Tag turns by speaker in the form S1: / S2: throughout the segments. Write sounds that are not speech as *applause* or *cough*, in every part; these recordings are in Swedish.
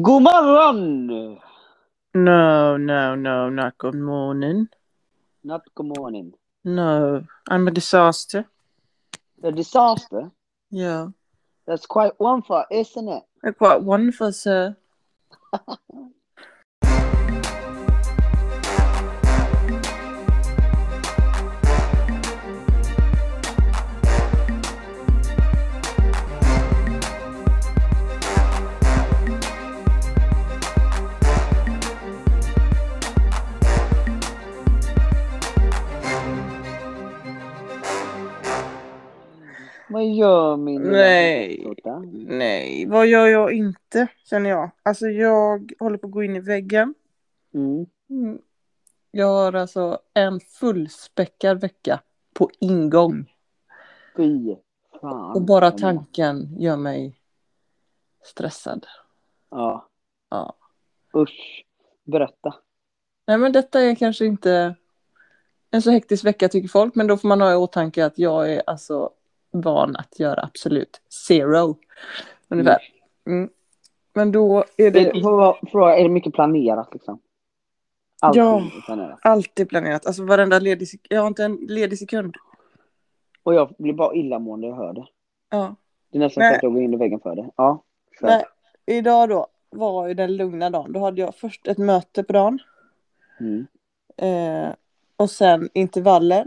S1: God morgon!
S2: No, no, no, not good morning.
S1: Not good morning.
S2: No, I'm a disaster.
S1: The disaster.
S2: Yeah.
S1: That's quite one for isn't it?
S2: They're quite wonderful, sir.
S1: Vad gör min lilla
S2: Nej.
S1: bebisdotter?
S2: Nej, vad gör jag inte, känner jag. Alltså jag håller på att gå in i väggen.
S1: Mm.
S2: Mm. Jag har alltså en fullspäckad vecka på ingång.
S1: Fy fan.
S2: Och bara tanken gör mig stressad.
S1: Ja.
S2: Ja.
S1: Usch. Berätta.
S2: Nej men detta är kanske inte en så hektisk vecka tycker folk, men då får man ha i åtanke att jag är alltså van att göra absolut zero. Ungefär. Mm. Men då är det
S1: Är, för, för, är det mycket planerat liksom? Allting
S2: Ja.
S1: är planerat.
S2: alltid planerat, alltså varenda ledig sekund. Jag har inte en ledig sekund.
S1: Och jag blir bara illamående när jag hör det.
S2: Ja.
S1: Det är nästan
S2: Nej.
S1: så att jag går in i väggen för det. Ja. kör.
S2: Nej, idag då var ju den lugna dagen. Då hade jag först ett möte på dagen
S1: Mm.
S2: eh, och sen intervaller.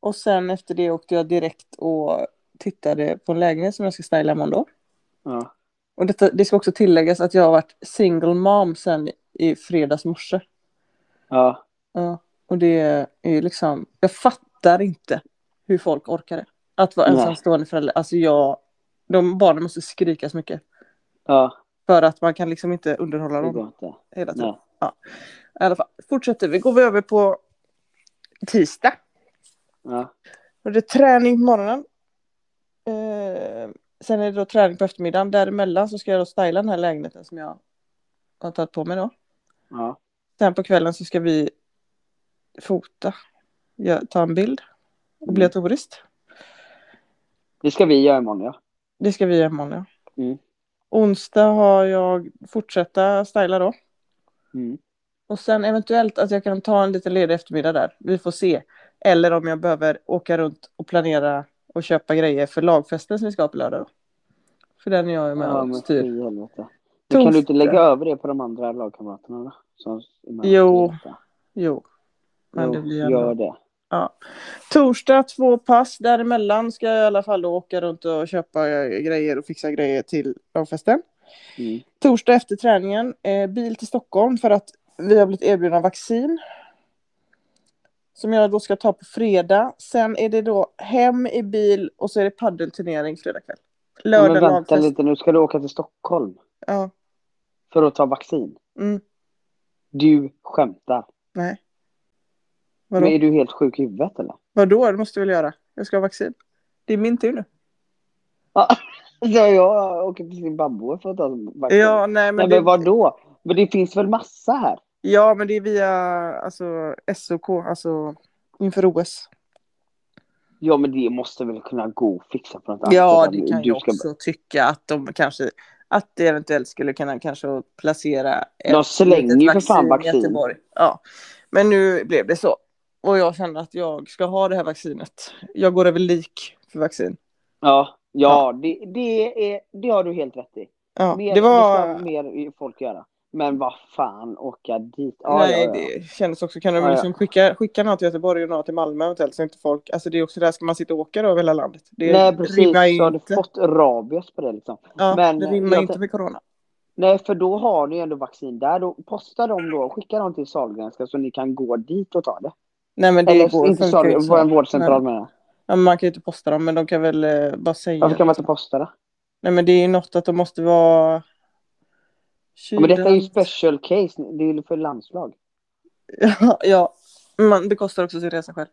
S2: Och sen efter det åkte jag direkt och tittade på en lägenhet som jag ska styla imorgon då.
S1: Ja.
S2: Och detta, det ska också tilläggas att jag har varit single mom sen i fredags morse.
S1: Ja.
S2: Ja, och det är ju liksom, jag fattar inte hur folk orkar det. Att vara
S1: Nej.
S2: ensamstående förälder, alltså jag, de barnen måste skrika så mycket.
S1: Ja.
S2: För att man kan liksom inte underhålla
S1: Det
S2: dem
S1: går inte.
S2: hela tiden.
S1: Nej.
S2: I alla fall, fortsätter vi, går vi över på tisdag.
S1: Ja.
S2: Och det är träning på morgonen. Eh, sen är det då träning på eftermiddagen. Däremellan så ska jag då styla den här lägenheten som jag har tagit på mig då.
S1: Ja.
S2: Sen på kvällen så ska vi fota, Gö- ta en bild obligatoriskt.
S1: Det ska vi göra imorgon ja.
S2: Det ska vi göra imorgon. Ja.
S1: Mm.
S2: Onsdag har jag fortsätta styla då.
S1: Mm.
S2: Och sen eventuellt att jag kan ta en liten ledig eftermiddag där. Vi får se. Eller om jag behöver åka runt och planera och köpa grejer för lagfesten som vi ska ha på lördag. Då. För den är jag ju med
S1: Ja,
S2: och
S1: men typ.
S2: styr.
S1: fy helvete. Men kan du inte
S2: Torsdag.
S1: lägga över det på de andra lagkamraterna då? Som är med och
S2: Jo,
S1: styr detta?
S2: Jo. Men det
S1: Jo,
S2: blir ändå...
S1: gör det.
S2: Torsdag två pass. Däremellan ska jag i alla fall då åka runt och köpa eh, grejer och fixa grejer till lagfesten.
S1: Mm.
S2: Torsdag efter träningen, eh, bil till Stockholm för att vi har blivit erbjudna vaccin. Som jag då ska ta på fredag. Sen är det då hem i bil och så är det paddelturnering fredag kväll.
S1: Ja,
S2: Lördag
S1: men
S2: ja,
S1: vänta lite nu, ska du åka till Stockholm
S2: Ja,
S1: för att ta vaccin?
S2: mm,
S1: Du skämtar.
S2: nej.
S1: Men
S2: Vadå?
S1: är du helt sjuk i huvudet eller?
S2: Vadå? Det måste du väl göra? Jag ska ha vaccin. Det är min tur nu.
S1: Ja, så jag åker till Zimbabwe för att ta vaccin.
S2: Ja, nej men,
S1: men,
S2: det,
S1: men vadå? Men det finns väl massa här?
S2: ja, men det är via alltså, SOK, alltså inför OS.
S1: Ja, men det måste väl kunna gå att fixa på något annat
S2: Ja,
S1: sätt.
S2: det kan
S1: Du
S2: jag
S1: ska-
S2: också tycka att de kanske att det eventuellt skulle kunna kanske placera ett
S1: De slänger
S2: litet
S1: ju för fan vaccin.
S2: i Göteborg. Ja, men nu blev det så. Och jag känner att jag ska ha det här vaccinet. Jag går över lik för vaccin.
S1: Ja, ja
S2: Ja.
S1: det, det, är, det har du helt rätt i.
S2: Ja,
S1: Mer,
S2: det var...
S1: ska mer folk göra. Men vad fan, åka dit. ja,
S2: nej,
S1: ja.
S2: det kändes också. Kan de
S1: Ja, ja.
S2: liksom skicka, skicka några till Göteborg och några till Malmö eventuellt så inte folk... Alltså det är också där, ska man sitta och åka då över hela landet? Det
S1: Nej precis,
S2: rimmar ju
S1: så har du
S2: inte.
S1: fått rabies på det liksom.
S2: ja,
S1: men
S2: det rimmar
S1: jag
S2: inte
S1: tän-
S2: med corona.
S1: Nej för då har ni ju ändå vaccin där. Då postar de då, skicka dem till Sahlgrenska så ni kan gå dit och ta det.
S2: Nej, men det
S1: Eller
S2: går,
S1: inte
S2: funkar ju
S1: Sahlgrenska,
S2: inte
S1: på en
S2: så.
S1: vårdcentral menar jag.
S2: Ja, men man kan ju inte posta dem, men de kan väl eh, bara säga.
S1: Varför kan man inte posta det?
S2: Nej, men det är ju något att de måste vara...
S1: Ja, men detta är ju special case, det är ju för landslag.
S2: ja, *laughs* ja, man bekostar också sin resa själv.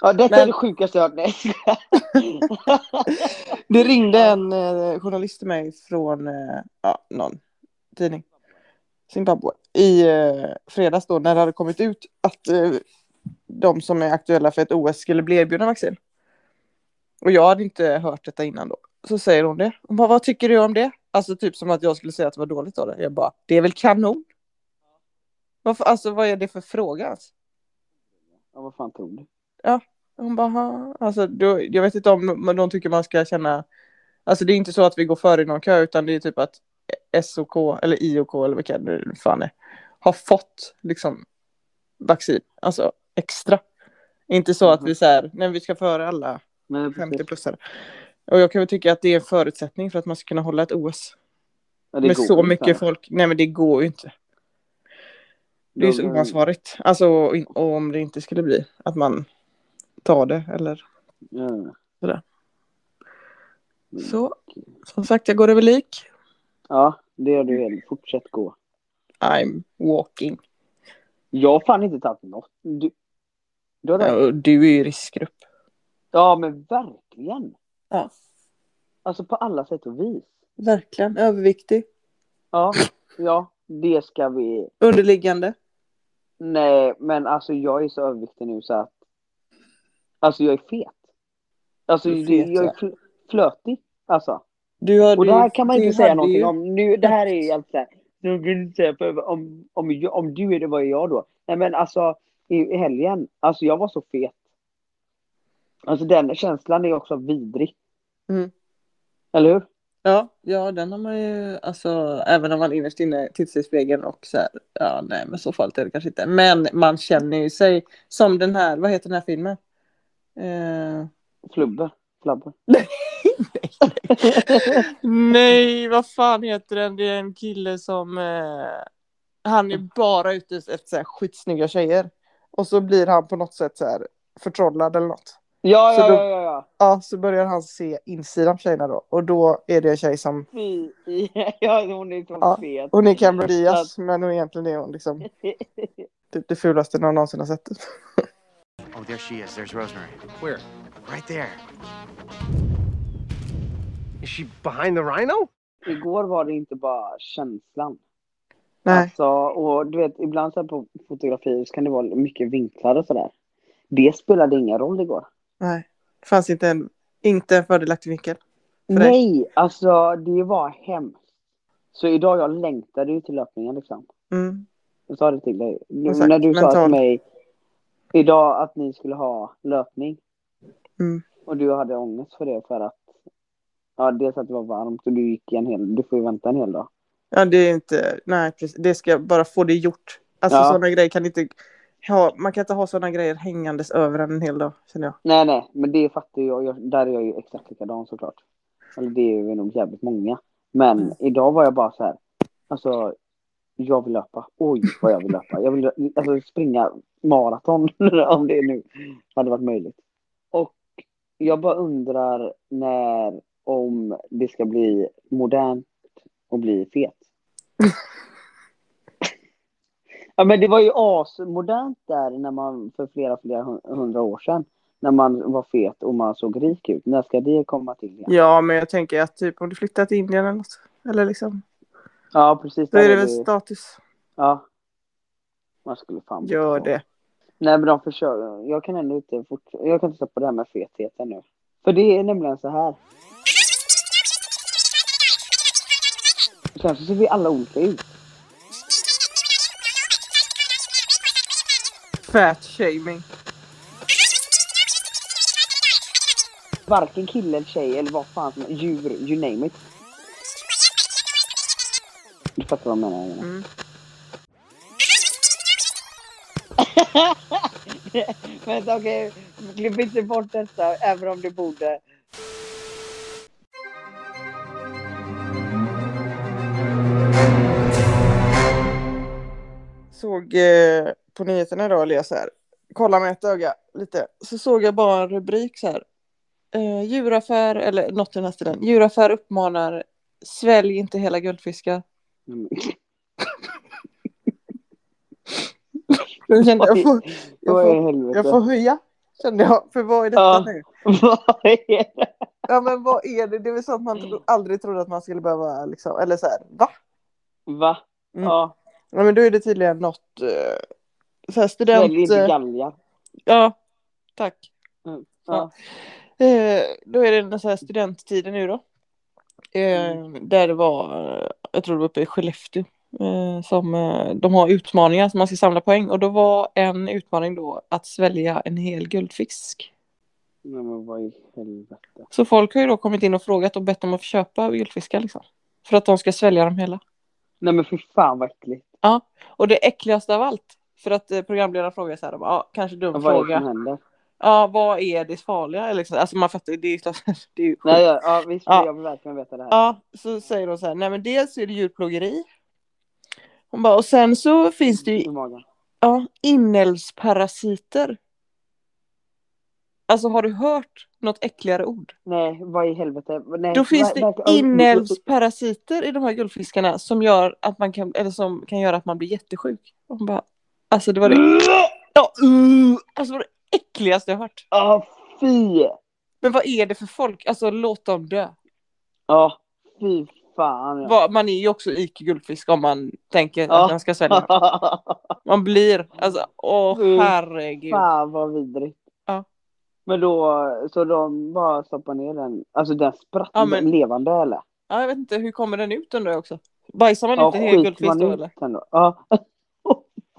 S1: Ja detta är
S2: Men-
S1: det sjukaste jag har hört. Nej.
S2: Det ringde en eh, journalist till mig från eh, ja, någon tidning. Zimbabwe. I eh, fredags då när det hade kommit ut att eh, de som är aktuella för ett OS skulle bli erbjudna vaccin. Och jag hade inte hört detta innan då. Så säger hon det. Hon bara, vad tycker du om det? Alltså typ som att jag skulle säga att det var dåligt av det. Jag bara, det är väl kanon? Varför, alltså vad är det för fråga? alltså? ens?
S1: Ja, vad fan tror du?
S2: Hon bara, "Ha." alltså då, jag vet inte om men de tycker man ska känna, alltså det är inte så att vi går före i någon kö utan det är typ att SOK eller IOK eller vilka det nu fan är, har fått liksom vaccin, alltså extra. Inte så att vi så här, nej vi ska före alla
S1: Men
S2: 50
S1: Mm. precis,
S2: plusare. Och jag kan väl tycka att det är en förutsättning för att man ska kunna hålla ett OS.
S1: ja,
S2: Med
S1: går
S2: så
S1: inte.
S2: mycket folk, nej men det går ju inte. Det är ju så
S1: Då-
S2: oansvarigt. Alltså och in- och om det inte skulle bli att man tar det eller
S1: Ja.
S2: Sådär.
S1: Mm.
S2: så. Som sagt, jag går över lik.
S1: Ja, det gör du helt. Fortsätt gå.
S2: I'm walking.
S1: Jag har fan inte tagit något. Du, du har
S2: Ja,
S1: ja.
S2: och Du är ju i riskgrupp.
S1: ja, men verkligen.
S2: Ja.
S1: Alltså på alla sätt och vis.
S2: Verkligen. Överviktig.
S1: Ja, ja, det ska vi.
S2: Underliggande.
S1: Nej, men alltså jag är så överviktig nu så att. Alltså jag är fet. Alltså
S2: Du
S1: det-
S2: är fet,
S1: jag är
S2: ja.
S1: fl- flötig. Alltså.
S2: Du hade,
S1: Och det
S2: ju-
S1: här kan man
S2: du
S1: inte säga
S2: hade
S1: någonting
S2: ju-
S1: om. Nu, det här är ju helt såhär. Nu kan du inte säga för om, om, jag- om du är det, vad är jag då? Nej men alltså i i helgen, alltså jag var så fet. Alltså den känslan är också vidrig.
S2: Mm.
S1: Eller hur?
S2: Ja, ja, den har man ju, alltså även om man innerst inne tittar sig i spegeln och så här, ja nej men så farligt är det kanske inte. Men man känner ju sig som den här, vad heter den här filmen? Eh,
S1: Flubber. Flabber.
S2: Nej, vad fan heter den? Det är en kille som... Eh, han är bara ute efter så här skitsnygga tjejer. Och så blir han på något sätt så här förtrollad eller något.
S1: Ja,
S2: Så
S1: ja,
S2: då-
S1: ja, ja, ja.
S2: Ja, så börjar han se insidan på tjejerna då. Och då är det en tjej som...
S1: Fy. *laughs* Ja, hon är så
S2: Ja,
S1: fet.
S2: Hon är Cameron Diaz, men hon egentligen är hon liksom typ det fulaste någon någonsin har sett.
S3: Oh, there she is. There's Rosemary. Where? Right there. Is she behind the rhino?
S1: *laughs* Igår var det inte bara känslan.
S2: Nej,
S1: Alltså, och du vet, ibland så här på fotografier så kan det vara mycket vinklar och sådär. Det spelade ingen roll igår.
S2: nej. Det fanns inte en, inte en fördelaktig vinkel. För dig?
S1: Nej, alltså det var hemskt. Så idag jag längtade ju till löpningen liksom.
S2: Mm.
S1: Jag sa det till dig. Nu-
S2: Exakt,
S1: När du sa
S2: mental.
S1: till mig idag att ni skulle ha löpning.
S2: Mm.
S1: Och du hade ångest för det för att Ja, dels att det var varmt och du gick en hel, du får ju vänta en hel dag.
S2: Ja, det är inte, nej precis. Det ska jag bara få det gjort. Alltså
S1: Ja.
S2: sådana grejer kan inte ha, man kan inte ha sådana grejer hängandes över en hel dag känner jag.
S1: Nej, nej, men det fattar jag. jag där är jag ju exakt likadan såklart. Eller det är vi nog jävligt många. Men
S2: Mm.
S1: idag var jag bara så här. Alltså, jag vill löpa. Oj, vad jag vill löpa. Jag vill alltså, springa maraton *laughs* om det nu hade varit möjligt. Och jag bara undrar när, om det ska bli modernt och bli fet. ja, men det var ju asmodernt där när man för flera, flera hun- hundra år sedan. När man var fet och man såg rik ut. När ska det komma till igen?
S2: Ja, men jag tänker att typ om du flyttar till Indien eller något, eller liksom,
S1: Ja, precis.
S2: då är
S1: där
S2: det
S1: är
S2: väl
S1: det ju-
S2: status.
S1: Ja. Man skulle fan bli
S2: Gör
S1: kvar.
S2: det.
S1: Nej men de försöker. Jag kan ändå inte fort... Jag kan inte släppa det här med fetheten nu. För det är nämligen så här. Sen så ser vi alla olika ut.
S2: Fat shaming.
S1: Varken kille eller tjej eller vad fan som Djur, you name it. Du fattar vad jag menar? Elina.
S2: *laughs* Mm.
S1: Vänta okej, klipp inte bort detta även om du borde.
S2: Såg eh, på nyheterna idag, eller jag så här, kolla med ett öga lite, så såg jag bara en rubrik så här. Eh, djuraffär, eller något i den här stilen. Djuraffär uppmanar svälj inte hela guldfiskar. *laughs*
S1: Mm.
S2: Jag kände, jag får, jag
S1: Vad
S2: får
S1: i helvete?
S2: Jag får höja, kände jag. För vad är detta
S1: Ja.
S2: nu?
S1: *laughs* Vad är det?
S2: Ja men vad är det? Det är väl sånt man tro- aldrig trodde att man skulle behöva liksom, eller så här, va?
S1: Va?
S2: Mm.
S1: Ja,
S2: Ja men då är det tydligen något, uh, så här
S1: välj
S2: student...
S1: inte
S2: eh,
S1: galgar.
S2: ja, tack.
S1: Mm,
S2: Ja.
S1: ja.
S2: Eh, då är det den så här studenttiden nu då. Eh,
S1: Mm.
S2: där det var, eh, jag tror det var uppe i Skellefteå, eh, som eh, de har utmaningar som man ska samla poäng. Och då var en utmaning då att svälja en hel guldfisk.
S1: Nej men vad i helvete.
S2: Så folk har ju då kommit in och frågat och bett om att få köpa guldfiskar liksom. För att de ska svälja dem hela.
S1: Nej men fy fan vad äckligt.
S2: Och det äckligaste av allt, för att eh, programledaren frågar så här, de bara, ja, kanske dum
S1: Vad är det
S2: fråga.
S1: som händer?
S2: Ja, vad är det farliga? Eller Liksom. Alltså man fattar ju, det är ju klart, *laughs* det är ju
S1: Nej ja, ja visst,
S2: Ja.
S1: jag vill verkligen veta det här.
S2: Ja, så säger de så här, nej men dels är det djurplågeri. Hon bara, och sen så finns det
S1: I
S2: ju
S1: magen.
S2: ja, inälvsparasiter. Alltså har du hört något äckligare ord?
S1: Nej, vad i helvete. Nej,
S2: Då finns
S1: ver-
S2: det
S1: verkligen-
S2: inälvsparasiter i de här guldfiskarna som gör att man kan, eller som kan göra att man blir jättesjuk. Hon bara, alltså det var det, ja, uh, alltså det var det äckligaste jag hört.
S1: Ja, fy!
S2: Men vad är det för folk? Alltså låt dem dö.
S1: Ja, fy fan. ja.
S2: Vad- Man är ju också ik guldfisk om man tänker
S1: Ja.
S2: att man ska svälja. Man blir, alltså åh
S1: Mm. *laughs*
S2: herregud.
S1: Fan vad vidrigt.
S2: Ja.
S1: Men då, så de bara stoppar ner den, alltså den spratt
S2: Ja, men-
S1: levande eller?
S2: Ja, jag vet inte, hur kommer den ut undrar jag också? Bajsar man
S1: Ja,
S2: inte hel
S1: skiter
S2: guldfisk
S1: man
S2: då
S1: ut
S2: eller?
S1: den då? Ja. *laughs*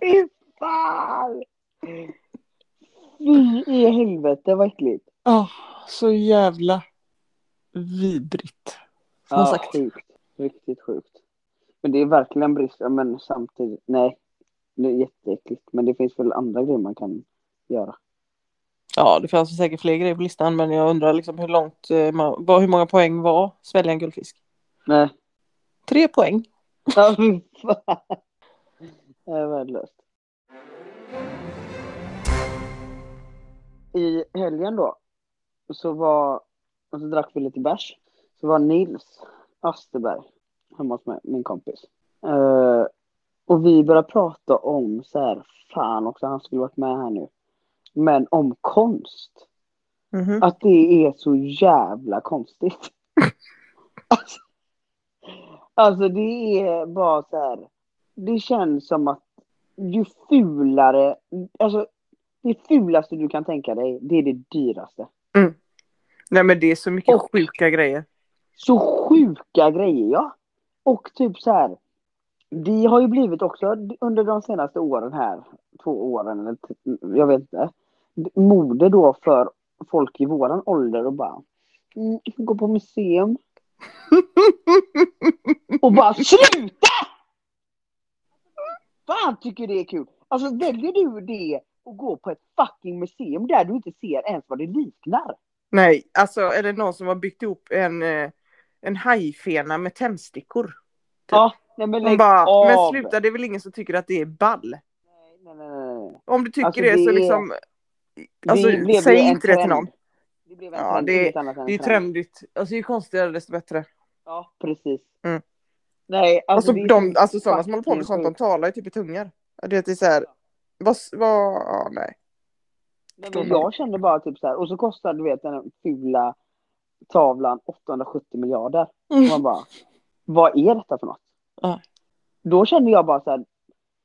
S1: Fy fan! Fy i helvete vad äckligt.
S2: Ja, så jävla vidrigt. Som
S1: Ja,
S2: sagt.
S1: sjukt. Riktigt sjukt. Men det är verkligen brist, ja, men samtidigt, nej. Det är jätteäckligt, men det finns väl andra grejer man kan göra.
S2: Ja, det fanns säkert fler grejer på listan men jag undrar liksom hur långt, eh, man, vad, hur många poäng var svälja en guldfisk?
S1: Nej.
S2: Tre poäng.
S1: Ja, fy fan. Det är värdelöst. I helgen då så var, och så drack vi lite bärs. Så var Nils Asterberg hemma hos mig, min kompis. Eh, och vi började prata om så här, fan också, han skulle varit med här nu. Men om konst.
S2: Mhm.
S1: Att det är så jävla konstigt. Alltså, alltså det är bara så här. Det känns som att ju fulare, alltså det fulaste du kan tänka dig, det är det dyraste.
S2: Nej men det är så mycket
S1: Och-
S2: sjuka *laughs* grejer.
S1: Så sjuka grejer ja. Och typ så här. Vi har ju blivit också under de senaste åren här, två åren eller t- jag vet inte, mode då för folk i våran ålder och bara mm, gå på museum. och bara sluta! Fan tycker det är kul. Alltså väljer du det och gå på ett fucking museum där du inte ser ens vad det liknar.
S2: Nej, alltså är det någon som har byggt ihop en, eh, en hajfena med tändstickor?
S1: Ja, nej men
S2: Hon
S1: lägg
S2: bara,
S1: av.
S2: men sluta det är väl ingen som tycker att det är ball?
S1: Nej, nej, nej, nej.
S2: Om du tycker
S1: Alltså,
S2: det,
S1: det
S2: så
S1: är-
S2: liksom, alltså,
S1: Det blev
S2: säg
S1: ju en
S2: inte det till
S1: trend.
S2: någon.
S1: Det blev en
S2: Ja,
S1: trend,
S2: det-
S1: inget annat än
S2: Det är ju
S1: en
S2: trendigt. Alltså ju konstigare desto bättre.
S1: Ja, precis.
S2: Mm.
S1: Nej,
S2: Alltså,
S1: det är
S2: de,
S1: så
S2: alltså sådana som håller på med sånt, de
S1: fucking
S2: talar ju typ i tungor. Det är typ så här, vad, vad, ja, nej.
S1: sjukt. Nej, men jag kände bara typ så här, och så kostar du vet den här fula tavlan 870 miljarder. Och man bara, vad är detta för något?
S2: Ja.
S1: Då kände jag bara så här,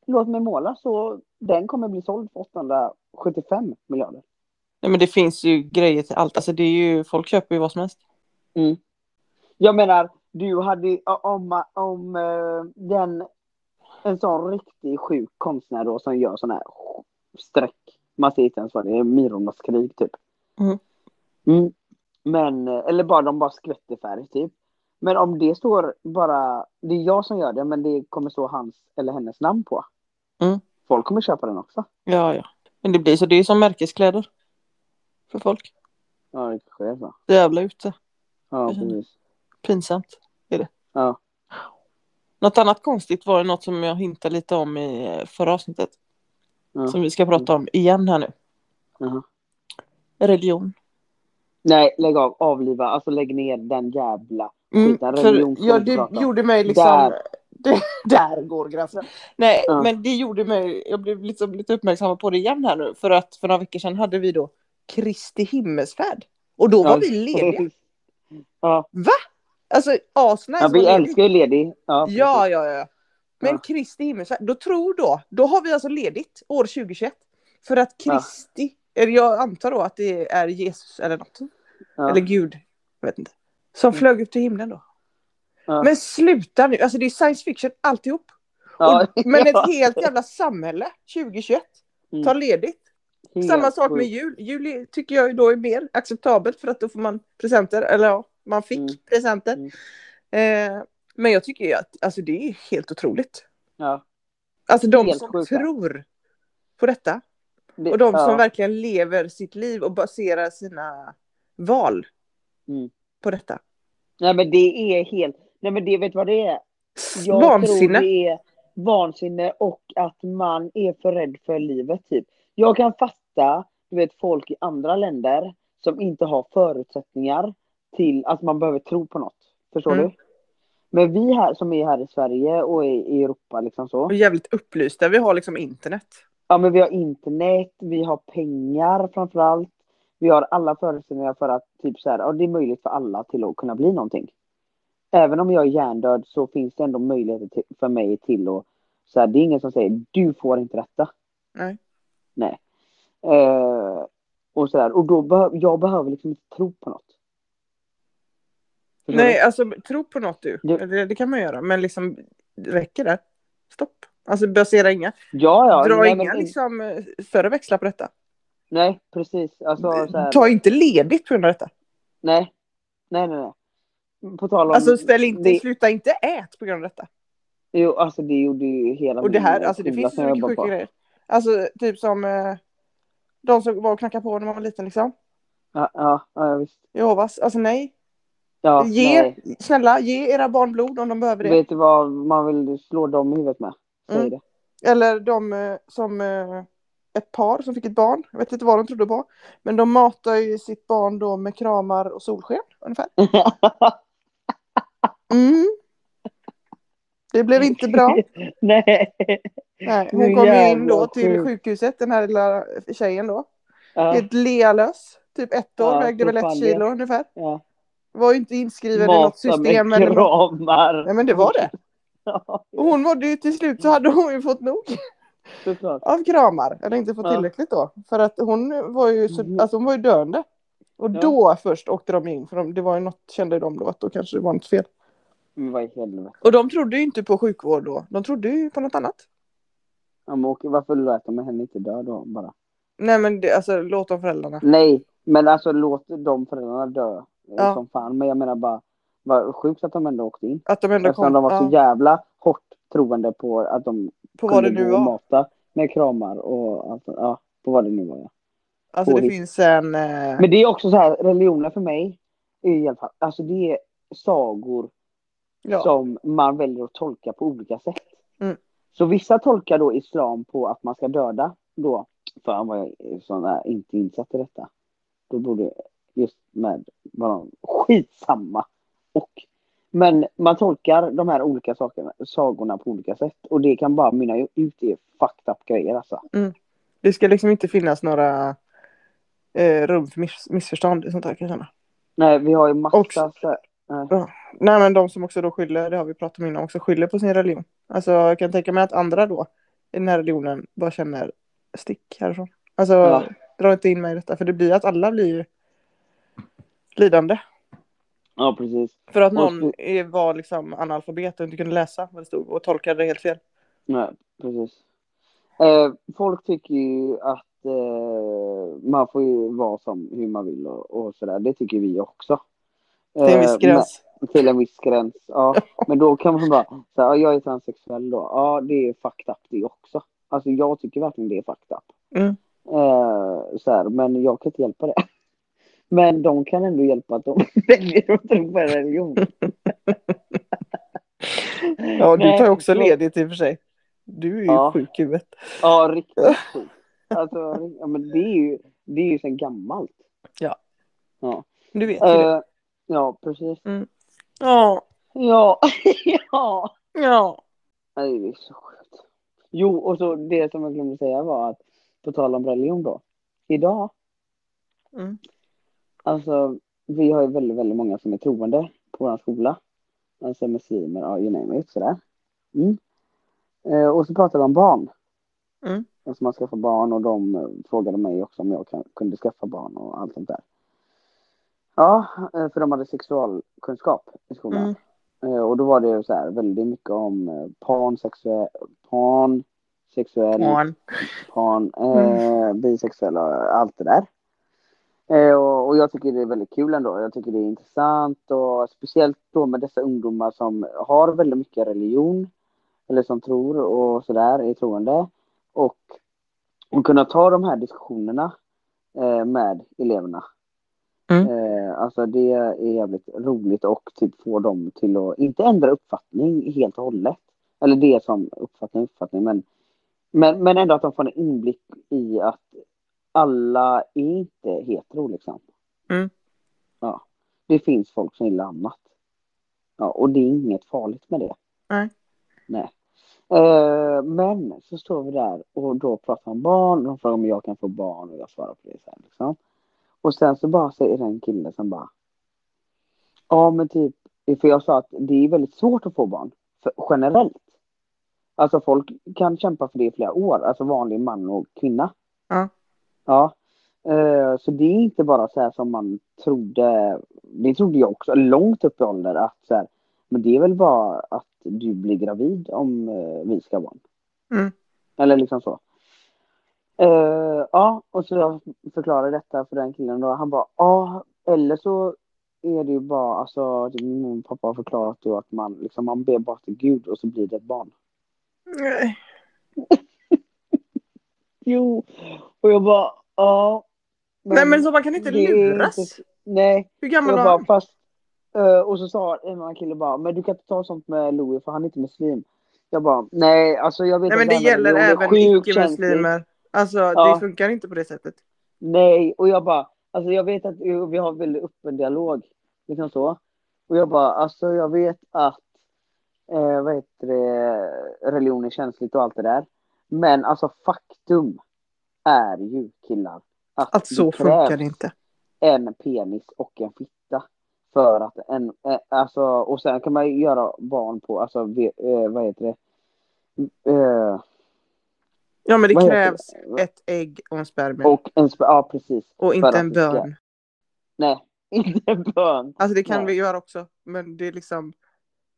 S1: låt mig måla så den kommer bli såld för 875 miljarder.
S2: Nej men det finns ju grejer till allt. Alltså det är ju, folk köper ju vad som helst.
S1: Jag menar, du hade om, om eh, den, en sån riktig sjuk konstnär då som gör såna här streck. Man ser inte ens vad det är, Mirornas krig typ.
S2: Mm.
S1: Mm. Men, eh, eller bara de bara skvätter färg typ. Men om det står bara, det är jag som gör det men det kommer stå hans eller hennes namn på.
S2: Mm.
S1: Folk kommer köpa den också.
S2: Ja, ja. Men det blir så, det är ju som märkeskläder. För folk.
S1: Ja, det kanske är så.
S2: Jävla ute.
S1: Ja,
S2: Mm.
S1: precis.
S2: Pinsamt är det.
S1: Ja.
S2: Något annat konstigt var det något som jag hintade lite om i eh, förra avsnittet.
S1: Ja.
S2: Som vi ska prata om igen här nu.
S1: Jaha.
S2: Religion.
S1: Nej, lägg av, avliva, alltså lägg ner den jävla
S2: Mm,
S1: Utan
S2: för,
S1: religion får
S2: ja,
S1: vi inte
S2: det
S1: prata om.
S2: gjorde mig liksom...
S1: Där.
S2: *laughs* Det, där går gränsen. Nej,
S1: Ja.
S2: men det gjorde mig... Jag blev liksom lite uppmärksam på det igen här nu. För att för några veckor sedan hade vi då Kristi himmelsfärd. Och då var vi lediga.
S1: Ja,
S2: Alltså asnice.
S1: ja
S2: var
S1: vi
S2: ledigt.
S1: älskar ju ledig. Ja,
S2: Ja, ja, ja. Men
S1: Ja.
S2: Kristi himmelsfärd, då tror då, då har vi alltså ledigt år 2021. För att
S1: Ja.
S2: Kristi, eller jag antar då att det är Jesus eller något.
S1: Ja.
S2: Eller Gud, jag vet inte. Som
S1: Mm.
S2: flög upp till himlen då.
S1: Ja.
S2: Men sluta nu, alltså det är science fiction alltihop.
S1: Ja,
S2: Och,
S1: *laughs*
S2: men
S1: ja.
S2: ett helt jävla samhälle 2021
S1: Mm.
S2: tar ledigt.
S1: Helt
S2: Samma sak med
S1: sjukt.
S2: jul. Jul är- tycker jag ju då är mer acceptabelt för att då får man presenter. Eller ja, man fick
S1: Mm.
S2: presenter.
S1: Mm.
S2: Eh, men jag tycker ju att alltså, det är helt otroligt.
S1: Ja.
S2: Alltså de
S1: Helt
S2: som
S1: sjukt, ja.
S2: tror på detta.
S1: Det-
S2: Och de
S1: ja.
S2: som verkligen lever sitt liv och baserar sina val
S1: Mm.
S2: på detta.
S1: Nej men det är helt... Nej men det, vet du vad det är? Jag
S2: Vansinne.
S1: tror det är vansinne och att man är för rädd för livet typ. Jag kan fatta, du vet folk i andra länder som inte har förutsättningar till att man behöver tro på något. Förstår
S2: Mm.
S1: du? Men vi här som är här i Sverige och i i Europa liksom så.
S2: Och jävligt upplysta. Vi har liksom internet.
S1: Ja men vi har internet, vi har pengar framförallt. Vi har alla förutsättningar för att typ så här, ja, det är möjligt för alla till att kunna bli någonting. Även om jag är hjärndöd så finns det ändå möjligheter till, för mig till att så här, det är ingen som säger du får inte detta.
S2: Nej.
S1: Nej. Eh, och så där, och då behö- jag behöver liksom inte tro på något. Förstår
S2: Nej, alltså tro på något du.
S1: Du-
S2: Det, det kan man göra, men liksom räcker det? Stopp. Alltså basera inga,
S1: du? Ja, ja.
S2: dra
S1: nej,
S2: inga
S1: men-
S2: liksom, eh, större växlar på detta.
S1: Nej, precis. Alltså, så här,
S2: Ta inte ledigt på grund av detta.
S1: nej. nej, nej, nej. På tal om...
S2: Alltså ställ inte,
S1: det-
S2: sluta inte ät på grund av detta.
S1: Jo, alltså det gjorde ju hela
S2: Och det här,
S1: min
S2: alltså det
S1: skola
S2: finns ju
S1: som jag
S2: så mycket
S1: jobbar
S2: sjuka
S1: på.
S2: grejer. Alltså typ som eh, de som var och knackade på när man var liten liksom.
S1: Ja, ja, ja visst.
S2: Jehovas, alltså nej.
S1: Ja,
S2: ge,
S1: nej.
S2: snälla, ge era barn blod om de behöver det.
S1: Vet du vad man vill slå dem i huvudet med? Säg
S2: Mm.
S1: det.
S2: Eller de eh, som eh, ett par som fick ett barn. Jag vet inte vad de trodde på. Men de matar ju sitt barn då med kramar och solsken ungefär. Mm. Det blev
S1: *laughs*
S2: inte bra.
S1: nej.
S2: Nej,
S1: Nu
S2: hon kom ju in
S1: jävlar
S2: då till
S1: sjukt.
S2: sjukhuset, den här lilla tjejen då.
S1: Ja,
S2: Helt lealös. Typ ett år,
S1: Ja,
S2: vägde väl
S1: för
S2: ett
S1: fan
S2: kilo ungefär.
S1: ja.
S2: Var ju inte inskriven i något
S1: Mata
S2: system.
S1: med
S2: Eller... något.
S1: kramar.
S2: Nej men det var det.
S1: *laughs*
S2: Oh.
S1: Ja,
S2: Och hon mådde ju till slut så hade hon ju fått nog.
S1: såklart.
S2: av kramar, eller inte fått
S1: Ja.
S2: tillräckligt då. För att hon var ju, så,
S1: Mhm.
S2: alltså hon var ju döende. Och
S1: Ja.
S2: då först åkte de in, för de, det var ju något, kände de då att då kanske det var något fel.
S1: Men vad i helvete.
S2: Och de trodde ju inte på sjukvård då, de trodde ju på något annat.
S1: Ja, men okej, varför lät de henne inte dö då bara?
S2: Nej men det, alltså låt dem föräldrarna.
S1: Nej, men alltså låt de föräldrarna dö. eh,
S2: Ja.
S1: Som fan. Men jag menar bara, vad sjukt att de ändå åkte in.
S2: Att de ändå
S1: Eftersom
S2: kom,
S1: de var så
S2: ja,
S1: jävla hårt troende på att de
S2: på vad det
S1: kunde
S2: nu
S1: gå och
S2: var.
S1: mata med kramar och allt, ja, på vad det nu var. Ja.
S2: Alltså det
S1: påhitt.
S2: finns en... Eh,
S1: Men det är också så här, religionen för mig är i alla fall, alltså det är sagor
S2: ja.
S1: som man väljer att tolka på olika sätt.
S2: Mm.
S1: Så vissa tolkar då islam på att man ska döda då, fan vad jag är sån här, inte insatt i detta. Då borde just med vad de, skitsamma. Och, men man tolkar de här olika sakerna, sagorna på olika sätt och det kan bara mynna ut i fucked up grejer alltså.
S2: Det ska liksom inte finnas några eh, rum för miss, missförstånd. Sånt där, kan jag känna.
S1: Nej, vi har ju massa
S2: Och-
S1: så här,
S2: Nej men de som också då skyller, det har vi pratat om innan också, skyller på sin religion. Alltså jag kan tänka mig att andra då i den här religionen bara känner stick härifrån. Alltså
S1: Ja.
S2: dra inte in mig i detta för det blir att alla blir ju lidande.
S1: Ja, precis.
S2: För att
S1: Och
S2: någon
S1: så-
S2: är- var liksom analfabet och inte kunde läsa vad det stod och tolkade det helt fel.
S1: Nej, precis. Eh, folk tycker ju att eh, man får ju vara som hur man vill och, och sådär. Det tycker vi också.
S2: Till en
S1: Eh,
S2: viss gräns.
S1: men- Till en viss gräns,
S2: *laughs*
S1: ja. Men då kan man bara säga, ja, jag är transsexuell då. Ja, det är fucked up det också. Alltså jag tycker verkligen det är fucked up.
S2: Mm.
S1: Eh, så här, men jag kan inte hjälpa det. *laughs* Men de kan ändå hjälpa att de *laughs* väljer att tro på en religion.
S2: Ja du
S1: Nej,
S2: tar ju också
S1: då-
S2: ledigt i och för sig. Du är ju
S1: Ja.
S2: sjuk i huvudet.
S1: Ja, riktigt sjukt. Alltså, ja, men det är ju, det är ju sen gammalt.
S2: Du vet ju det.
S1: Eh, ja, precis.
S2: Ja.
S1: Ja, *laughs* ja.
S2: Ja.
S1: Nej, det är så sjukt. Jo, och så det som jag glömde säga var att på tal om religion då. Idag,
S2: Mm.
S1: alltså vi har ju väldigt, väldigt många som är troende på vår skola. Alltså muslimer, ja, you name it, sådär. Mm. Eh, och så pratar vi om barn.
S2: Mm.
S1: Alltså man skaffar barn och de eh, frågade mig också om jag kan, kunde skaffa barn och allt sånt där. Ja, eh, för de hade sexualkunskap i skolan.
S2: Mm.
S1: Eh, Och då var det så här väldigt mycket om eh, pansexuell, pansexuell,
S2: Barn.
S1: pan, eh, bisexuella, allt det där. Eh, och, och jag tycker det är väldigt kul ändå. Jag tycker det är intressant och speciellt då med dessa ungdomar som har väldigt mycket religion eller som tror och sådär är troende och, och kunna ta de här diskussionerna eh, med eleverna.
S2: Mm.
S1: Eh, alltså det är jävligt roligt och typ få dem till att inte ändra uppfattning helt och hållet. Eller det som uppfattning uppfattning men men, men ändå att de får en inblick i att alla är inte hetero liksom.
S2: Mm.
S1: Ja. Det finns folk som gillar annat. Ja, och det är inget farligt med det.
S2: Nej.
S1: Nej. Eh, men så står vi där och då pratar om barn. De frågar om jag kan få barn och jag svarar på det så här, liksom. Och sen så bara säger den killen som bara. Ja men typ. För jag sa att det är väldigt svårt att få barn. För, generellt. Alltså folk kan kämpa för det i flera år, alltså vanlig man och kvinna.
S2: Ja.
S1: Ja. Eh, Så det är inte bara så här som man trodde, det trodde jag också, långt upp i ålder att så här, men det är väl bara att du blir gravid om eh, vi ska ha barn.
S2: Mm.
S1: Eller liksom så. Eh, ja, och så jag förklarade detta för den killen då, han bara ja, eller så är det ju bara, alltså typ min pappa har förklarat då att man liksom, man ber bara till Gud och så blir det ett barn.
S2: Nej.
S1: Jo, och jag bara, ja.
S2: Nej men så man kan inte
S1: det är
S2: luras.
S1: inte- Nej,
S2: Hur
S1: och
S2: gammal
S1: jag
S2: var
S1: bara,
S2: han?
S1: fast. eh, och så sa en annan kille bara, men du kan inte ta sånt med Louie för han är inte muslim. Jag bara, nej alltså jag vet
S2: Nej men det
S1: inte,
S2: gäller
S1: religion är
S2: även
S1: sjukt känsligt.
S2: icke-muslimer. Alltså
S1: Ja.
S2: det funkar inte på det sättet.
S1: Nej, och jag bara, alltså jag vet att eh, vi har väldigt öppen dialog, liksom så. Och jag bara, alltså jag vet att, eh, vad heter det, religion är känsligt och allt det där. Men alltså faktum är ju killar att,
S2: Att så
S1: det krävs
S2: funkar det inte.
S1: en penis och en fitta. För att en, eh, alltså, och sen kan man ju göra barn på, alltså ve- eh, vad heter det? Eh,
S2: Ja men det
S1: Vad heter
S2: krävs
S1: det?
S2: ett ägg och en spermie. Och,
S1: och en, sp- ja precis.
S2: inte
S1: att
S2: en
S1: det ska-
S2: bön.
S1: Nej, *laughs* inte en bön.
S2: Alltså det kan
S1: Nej.
S2: vi göra också. Men det är liksom,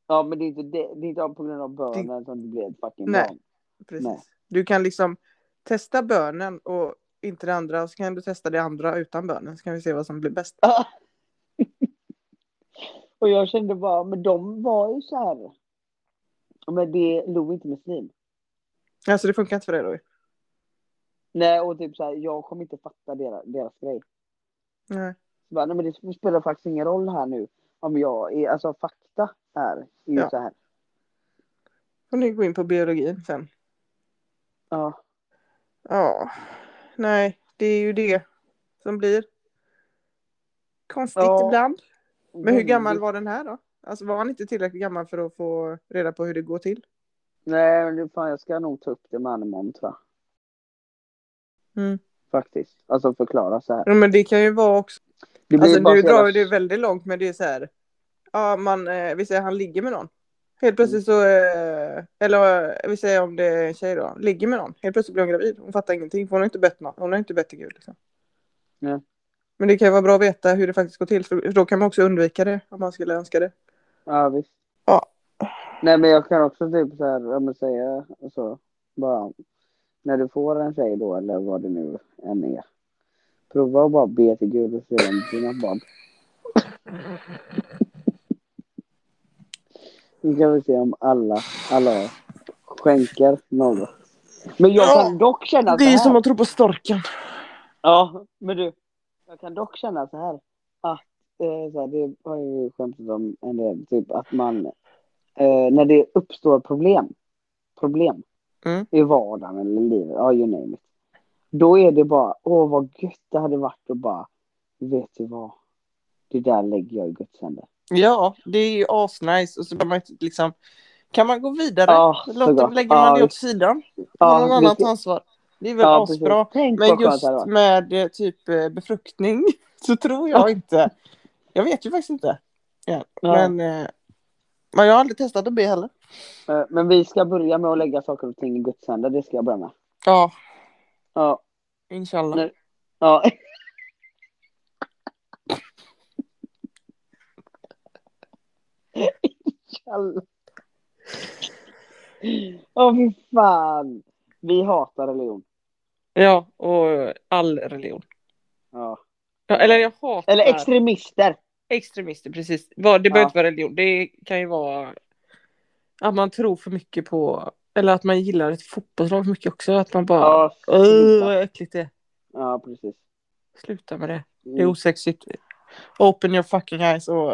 S1: Ja, men det är inte, det, det är inte på grund av bönen som det blir ett fucking
S2: Nej.
S1: barn.
S2: precis.
S1: Nej.
S2: Du kan liksom testa bönen och inte det andra. Och så kan du testa det andra utan bönen. Så kan vi se vad som blir bäst.
S1: *laughs* Och jag kände bara, men de var ju så här. Men det är Lo inte muslim.
S2: Alltså det funkar inte för dig då.
S1: Nej, och typ så här, jag kommer inte fatta deras, deras grej.
S2: Nej.
S1: Så Bara, nej, men det spelar faktiskt ingen roll här nu. Om jag är, alltså fakta här är ju
S2: Ja.
S1: så här.
S2: Får ni gå in på biologin sen.
S1: Ja.
S2: Ja. Nej, det är ju det som blir. Konstigt
S1: Ja.
S2: ibland. Men hur gammal var den här då? Alltså var han inte tillräckligt gammal för att få reda på hur det går till?
S1: Nej, men det- fan, jag ska nog ta upp det med honom imorgon tror jag.
S2: Mm.
S1: Faktiskt. Alltså förklara så här.
S2: Ja, men det kan ju vara också.
S1: Det blir
S2: Alltså
S1: bara
S2: nu
S1: så jävla-
S2: drar ju det väldigt långt men det är så här. Ja man, eh, vi säger han ligger med någon. Helt plötsligt så, eh, eller eh, vi säger om det är en tjej då, ligger med någon. Helt plötsligt blir hon gravid. Hon fattar ingenting för hon har inte bett någon. Hon har inte bett till Gud liksom.
S1: Nej.
S2: Men det kan ju vara bra att veta hur det faktiskt går till för då kan man också undvika det om man skulle önska det.
S1: Ja, visst.
S2: Ja.
S1: Nej, men jag kan också typ så här, ja, men säga så. Bara, när du får en tjej då, eller vad det nu än är. Prova att bara be till Gud och se om dina barn. Nu kan vi se om alla, alla skänker något. Men jag kan dock känna så här.
S2: att tro på storken.
S1: Ja, men du. Jag kan dock känna så här. Att, eh, så här det har ju skämtat om en del. Typ att man. Eh, när det uppstår problem. Problem.
S2: Mm.
S1: I vardagen eller livet. Ja, you name it. Då är det bara. Åh, vad gött det hade varit att bara. Vet du vad? Det där lägger jag i Guds händer.
S2: Ja, det är ju asnice och så behöver man inte liksom kan man gå vidare?
S1: Ja, så
S2: Låter,
S1: bra.
S2: lägger
S1: Ja,
S2: man det åt
S1: visst.
S2: sidan?
S1: Ja,
S2: Ja, någon annan
S1: visst.
S2: tar ansvar. Det är väl
S1: Ja, precis.
S2: asbra.
S1: Tänk
S2: Men
S1: vad skönt
S2: just
S1: det hade varit.
S2: med eh, typ eh, befruktning *laughs* så tror jag inte. Jag vet ju faktiskt inte. Ja.
S1: Ja.
S2: Men, eh, men jag har aldrig testat att be heller.
S1: Eh, Men vi ska börja med att lägga saker och ting i Guds händer. Det ska jag börja med.
S2: Ja,
S1: Ja.
S2: inshallah.
S1: Nej. Ja. kalla. Åh fy fan. Vi hatar religion.
S2: Ja, och all religion.
S1: Ja.
S2: Ja, eller jag hatar
S1: Eller extremister.
S2: extremister, precis. Vad- Det behöver
S1: Ja.
S2: inte vara religion. Det kan ju vara att man tror för mycket på, eller att man gillar ett fotbollslag för mycket också. Att man bara,
S1: Ja,
S2: åh
S1: sluta.
S2: vad äckligt det är.
S1: ja precis.
S2: Sluta med det. Det är
S1: Mm.
S2: osexigt. Open your fucking eyes och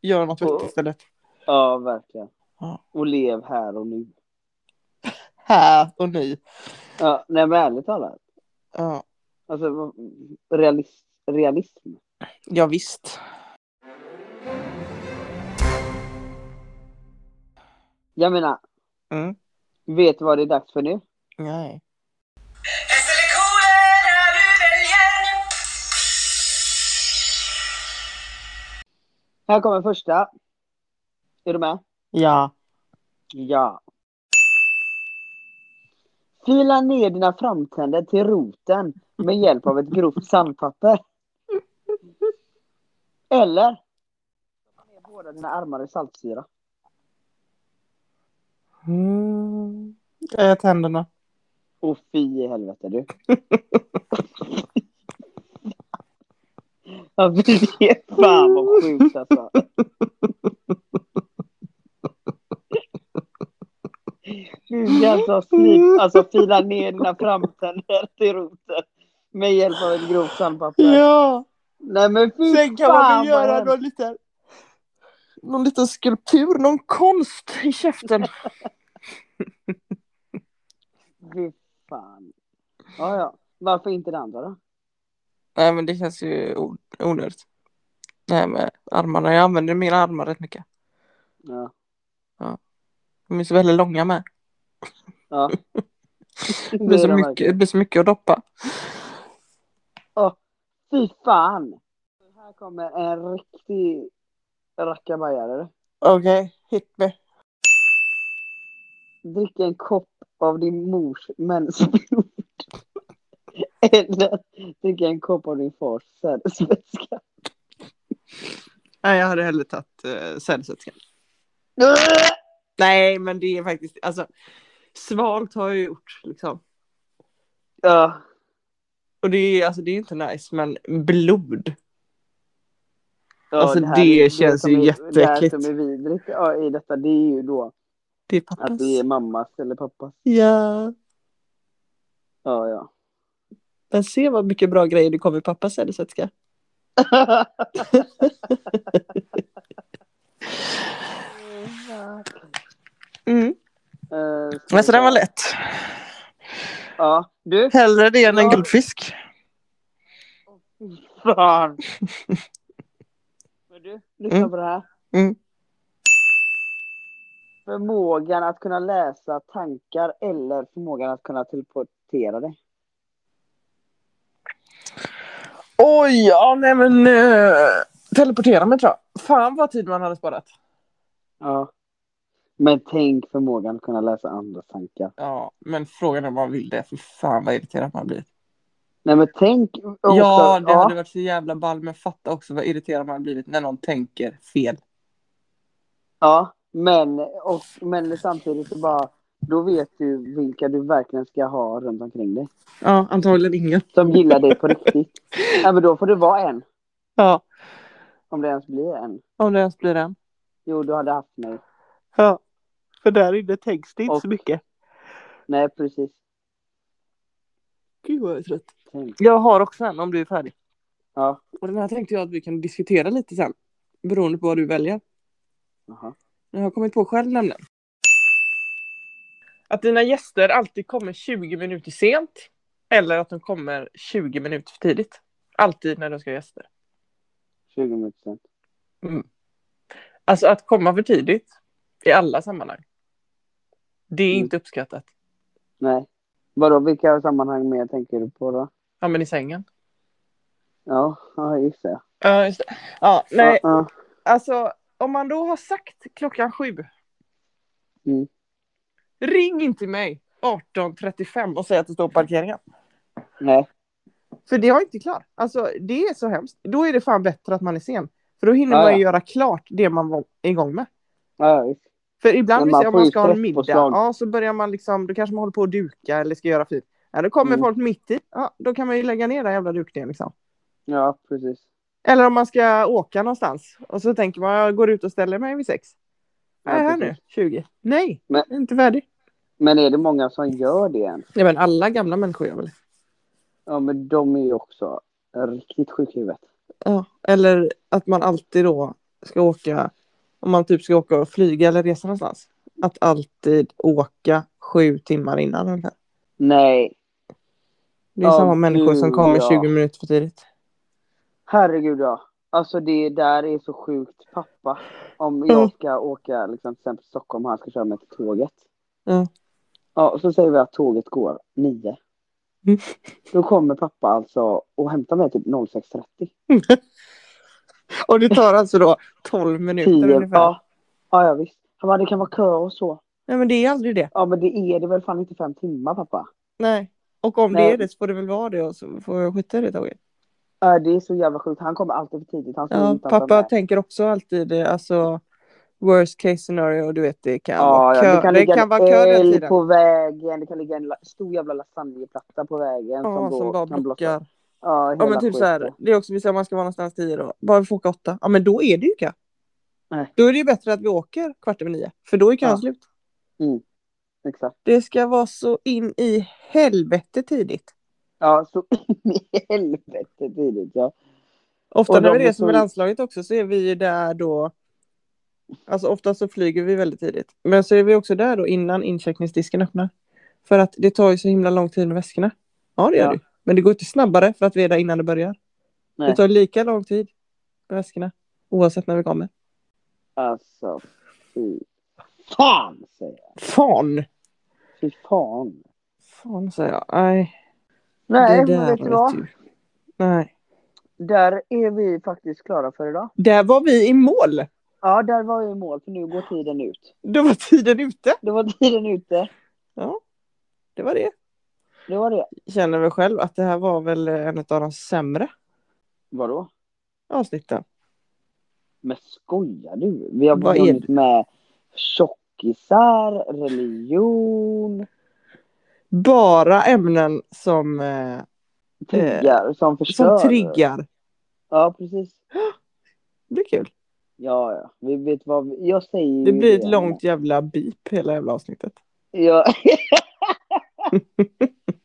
S2: gör något
S1: Och-
S2: vettigt istället.
S1: Ja, verkligen.
S2: Ja.
S1: Och lev här och nu.
S2: Här och nu.
S1: Ja, nej men ärligt talat.
S2: Ja,
S1: Alltså, vad- realis- realism.
S2: ja visst.
S1: Jag menar,
S2: Mm.
S1: vet du vad det är dags för nu?
S2: Nej.
S1: Här kommer första. Är du med?
S2: Ja.
S1: Ja. Fila ner dina framtänder till roten med hjälp av ett grovt sandpapper. Eller stoppa ner båda dina armar i saltsyra.
S2: Mm. Ät händerna.
S1: Och fy i helvete du. *laughs* Ja, det är fan vad sjukt alltså. Du ska alltså, snip, alltså fila ner dina framtänder *laughs* till roten med hjälp av ett grovt sandpapper.
S2: Ja.
S1: Nej men fy
S2: Sen kan
S1: fan
S2: man ju
S1: vad
S2: göra
S1: hemskt.
S2: någon liten, någon liten skulptur, någon konst i käften.
S1: Fy fan. Ja, ja. Varför inte det andra då?
S2: Nej men det känns ju o- onödigt. Nej men armarna, jag använder mina armar rätt mycket.
S1: Ja.
S2: De är så väldigt långa med.
S1: ja.
S2: Det blir
S1: är
S2: så
S1: de
S2: mycket, det blir så mycket att doppa.
S1: Fy fan! Här kommer en riktig rackabajare.
S2: Okej, hit me.
S1: Drick en kopp av din mors mensblod. Eller dricka en kopp av din fars sädesvätska.
S2: Nej jag hade hellre tagit uh, sädesvätskan. Nej men det är faktiskt, alltså svalt har jag gjort liksom.
S1: Ja,
S2: Och det är, alltså, det är inte nice men blod.
S1: ja,
S2: Alltså,
S1: här
S2: det
S1: är-
S2: känns
S1: som
S2: ju
S1: är-
S2: jätteäckligt.
S1: Det här som är vidrigt ja, i detta det är ju då
S2: Det är pappas.
S1: att det är mammas eller pappas.
S2: Ja.
S1: Ja,
S2: *laughs*
S1: ja.
S2: Men se vad mycket bra grejer det kommer i pappas sädesvätska. Mm.
S1: Eh, ska
S2: Men så
S1: vi
S2: den var
S1: se.
S2: lätt.
S1: Ja, du.
S2: Hellre det än en
S1: Ja.
S2: guldfisk.
S1: Fan. Men du, lyssna
S2: Mm.
S1: på det här.
S2: Mm.
S1: Förmågan att kunna läsa tankar eller förmågan att kunna teleportera dig.
S2: Oj, ja nej men eh, teleportera mig tror jag. Fan vad tid man hade sparat.
S1: Ja. Men tänk förmågan att kunna läsa andra tankar.
S2: Ja, men frågan är om man vill det. För fan vad irriterad man blir.
S1: Nej men tänk. också-
S2: ja, det
S1: ja.
S2: hade varit så jävla ball men fatta också vad irriterad man har blivit när någon tänker fel.
S1: Ja, men, och, men samtidigt så bara. Då vet du vilka du verkligen ska ha runt omkring dig.
S2: Ja, antagligen ingen.
S1: Som gillar dig på
S2: *laughs*
S1: riktigt. Nej men då får du vara en.
S2: Ja,
S1: Om det ens blir en.
S2: om det ens blir den.
S1: Jo, du hade haft mig.
S2: Ja, för där inne tänks det inte
S1: Och-
S2: så mycket.
S1: Nej, precis.
S2: Gud vad jag är trött.
S1: Tänk.
S2: Jag har också en om du är färdig.
S1: Ja.
S2: Och den här tänkte jag att vi kan diskutera lite sen. Beroende på vad du väljer.
S1: Jaha.
S2: Jag har kommit på själv nämligen. Att dina gäster alltid kommer 20 minuter sent. Eller att de kommer 20 minuter för tidigt. Alltid när du ska ha gäster.
S1: 20 minuter sen.
S2: Alltså att komma för tidigt. I alla sammanhang. Det är
S1: Mm.
S2: inte uppskattat.
S1: Nej. Vadå, vilka sammanhang mer tänker du på då?
S2: Ja men i sängen.
S1: Ja, ja just det.
S2: Ja just det. Ja nej
S1: Ja, ja.
S2: alltså. Om man då har sagt klockan sju.
S1: Mm.
S2: Ring inte mig 18.35 och säg att det står på parkeringen.
S1: Nej,
S2: För det har jag inte klart. Alltså det är så hemskt. Då är det fan bättre att man är sen. För då hinner
S1: Ja,
S2: man
S1: ja.
S2: ju göra klart det man var igång med.
S1: Ja, visst.
S2: För ibland
S1: Men
S2: vill
S1: man
S2: säga om
S1: får
S2: man
S1: ju
S2: ska ha en middag,
S1: stresspåslag.
S2: ja, så börjar man liksom, då kanske man håller på att duka eller ska göra fint. Ja, då kommer
S1: Mm.
S2: folk mitt i, ja, då kan man ju lägga ner den jävla dukningen liksom.
S1: Ja, precis.
S2: Eller om man ska åka någonstans och så tänker man, jag går ut och ställer mig vid sex.
S1: Ja,
S2: Ja, är här
S1: precis.
S2: nu, 20. Nej,
S1: Men-
S2: jag är inte färdig.
S1: Men är det många som gör det än?
S2: Nej men alla gamla människor gör väl det.
S1: Ja, men de är ju också riktigt sjuka i huvudet.
S2: Ja, eller att man alltid då ska åka, om man typ ska åka och flyga eller resa någonstans, att alltid åka sju timmar innan. ungefär.
S1: Nej,
S2: Det är
S1: Ja,
S2: samma människor som
S1: gud,
S2: kommer
S1: ja.
S2: 20 minuter för tidigt.
S1: herregud ja. Alltså det där är så sjukt pappa. Om
S2: Mm.
S1: jag ska åka liksom, till exempel till Stockholm och han ska köra mig till tåget.
S2: Ja.
S1: Ja, så säger vi att tåget går nio.
S2: Mm.
S1: Då kommer pappa alltså och hämtar mig typ 06.30.
S2: Och det tar alltså då 12 minuter
S1: Tio,
S2: ungefär.
S1: ja. ja, ja visst. Han bara, det kan vara kö och så.
S2: Nej men det är aldrig det.
S1: Ja, men det är det väl fan inte fem timmar pappa.
S2: Nej. Och om det
S1: Nej.
S2: är det så får det väl vara det och så får jag skita i det tåget.
S1: Ja, det är så jävla sjukt. Han kommer alltid för tidigt. Han står
S2: Ja,
S1: utanför
S2: pappa
S1: mig.
S2: tänker också alltid eh, alltså worst case scenario, du vet det kan
S1: Ja,
S2: vara
S1: ja,
S2: kö.
S1: det kan
S2: det
S1: ligga
S2: kan vara
S1: en
S2: kö den
S1: älg
S2: tiden.
S1: på vägen, det kan ligga en la- stor jävla lasagneplatta på vägen.
S2: Ja,
S1: då
S2: som bara
S1: kan blossa.
S2: blockar.
S1: Ja,
S2: Ja
S1: hela
S2: men typ så här,
S1: skiten.
S2: det är också vi säger om man ska vara någonstans tio då, bara vi får åka åtta. Ja men då är det ju kö.
S1: Nej.
S2: Då är det ju bättre att vi åker kvart över nio, för då är kön
S1: Ja.
S2: slut.
S1: Exakt.
S2: Det ska vara så in i helvete tidigt.
S1: Ja, så *laughs* in i helvete tidigt. Ja.
S2: Ofta
S1: Och
S2: när
S1: de
S2: vi
S1: är
S2: reser
S1: så-
S2: med landslaget också så är vi ju där då, alltså ofta så flyger vi väldigt tidigt, men så är vi också där då innan incheckningsdisken öppnar. För att det tar ju så himla lång tid med väskorna. Ja det gör
S1: Ja.
S2: det ju. Men det går inte snabbare för att vi är där innan det börjar.
S1: Nej.
S2: Det tar lika lång tid med väskorna, oavsett när vi kommer.
S1: Alltså, fy fan säger jag.
S2: Fan!
S1: Fy fan.
S2: Fan säger jag. Nej,
S1: Nej,
S2: det
S1: men
S2: där typ-
S1: vet du vad?
S2: du. Nej.
S1: Där är vi faktiskt klara för idag.
S2: Där var vi i mål.
S1: Ja, där var jag i mål, för nu går tiden ut.
S2: Då var tiden ute.
S1: Då var tiden ute.
S2: Det var det.
S1: Det var det.
S2: Känner väl själv att det här var väl en av de sämre
S1: Vadå?
S2: avsnitten.
S1: Men skojar du? Vi har
S2: Vad är
S1: börjat med tjockisar,
S2: Eh,
S1: religion,
S2: Bara ämnen som, eh,
S1: triggar som förstör.
S2: som triggar.
S1: Ja, precis.
S2: Det blir kul.
S1: Ja, ja. Vi vet vad vi... Jag säger ju
S2: Det blir ett
S1: det.
S2: långt jävla beep hela jävla avsnittet. *laughs*
S1: Ja.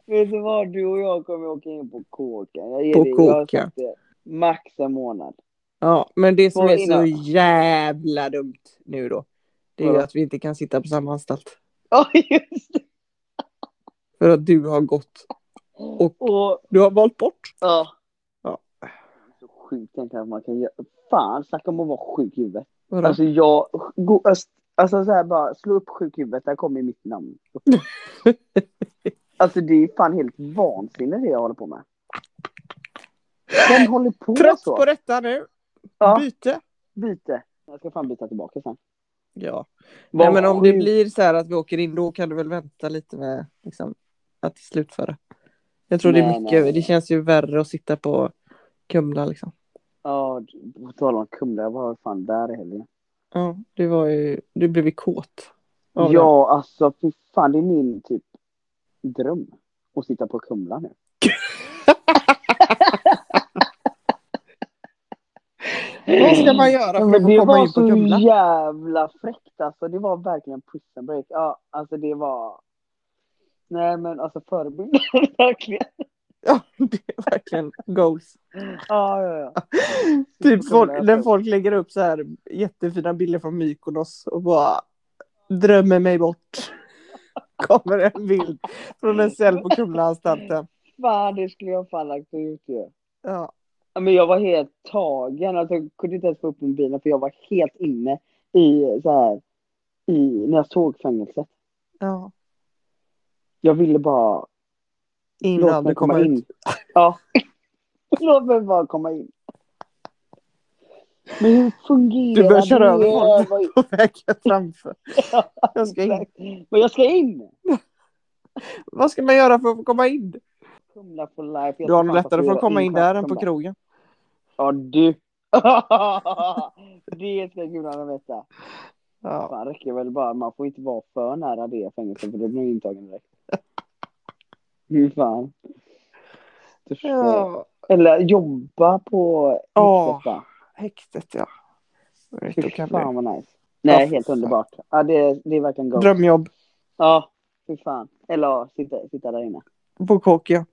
S1: vet du vad? Du och jag kommer åka in på kåken. Jag ger
S2: På
S1: dig- jag har
S2: kåken.
S1: sagt det. Max en månad. *laughs*
S2: Ja, men det som
S1: Vad
S2: är
S1: är
S2: så
S1: det?
S2: jävla dumt nu då. Det är ju
S1: Vadå?
S2: att vi inte kan sitta på samma anstalt.
S1: Ja, just det.
S2: För att du har gått. Och-
S1: Och...
S2: Du har valt bort.
S1: Ja.
S2: Ja.
S1: Så sjukt egentligen att man kan göra. Fan, snacka om att vara sjuk i huvudet.
S2: Vadå?
S1: Alltså jag, go, öst, alltså så här bara, slå upp sjuk i huvudet, där kommer mitt namn.
S2: *laughs*
S1: alltså det är fan helt vansinne det jag håller på med. Vem håller på
S2: Trött
S1: så?
S2: på detta nu.
S1: Ja,
S2: Byte.
S1: byte. Jag ska fan byta tillbaka sen.
S2: Ja. Nej,
S1: Vad
S2: men om det
S1: sjukt.
S2: blir så här att vi åker in då kan du väl vänta lite med liksom, att slutföra. Jag tror det är
S1: Nej,
S2: mycket,
S1: nej.
S2: det känns ju värre att sitta på Kumla liksom.
S1: Ja, på tal om Kumla, jag var fan där i helgen.
S2: Ja, du var ju, du blev ju kåt. av det.
S1: Ja, alltså fy fan, det är min typ dröm. Att sitta på Kumla nu.
S2: Vad ska man göra
S1: Ja,
S2: för att
S1: men det
S2: få komma
S1: var
S2: in på
S1: så
S2: Kumla?
S1: jävla fräckt alltså. Det var verkligen puss and break. Ja, alltså det var... Nej men alltså förebilder *laughs* verkligen.
S2: Ja, *laughs* det är verkligen goals.
S1: Ja, ja, ja.
S2: Typ folk,
S1: Kumla,
S2: när
S1: alltså.
S2: folk lägger upp så här jättefina bilder från Mykonos och bara drömmer mig bort. *laughs* Kommer en bild från en cell på Kumlaanstalten.
S1: Fan, det skulle jag fan lagt ut ju.
S2: Ja.
S1: Ja, men jag var helt tagen. Alltså, jag kunde inte ens få upp mobilen för jag var helt inne i så här, i, när jag såg fängelset.
S2: Ja.
S1: Jag ville bara
S2: In
S1: låt mig
S2: aldrig komma
S1: komma
S2: ut. *laughs*
S1: in. Ja. låt mig bara komma in. Men hur fungerar
S2: Du börjar köra över
S1: det?
S2: folk.
S1: Vad-
S2: på vägen
S1: *laughs*
S2: framför. Jag ska in.
S1: Exakt. Men jag ska in!
S2: Vad ska man göra för att komma in?
S1: Kumla for life. Jag
S2: Du har
S1: ska
S2: nog
S1: fan
S2: lättare för att
S1: tatuera
S2: komma in där än på
S1: Kumla.
S2: krogen.
S1: *laughs* Ja, du. det ska gudarna veta.
S2: Ja.
S1: Fan, räcker väl bara, man får inte vara för nära det fängelset för då blir man intagen
S2: *laughs*
S1: direkt. Fy fan. Du förstår.
S2: ja.
S1: Eller jobba på
S2: Ja.
S1: häktet va?
S2: Häktet ja. Jag vet,
S1: Fy
S2: då kan det
S1: fan vad nice.
S2: Ja,
S1: Nej,
S2: fy
S1: helt
S2: fan.
S1: underbart. Ja, det, det är verkligen
S2: bli.
S1: gott.
S2: Drömjobb.
S1: Ja, fy fan. Eller ja, sitta, sitta där inne.
S2: På kåk ja.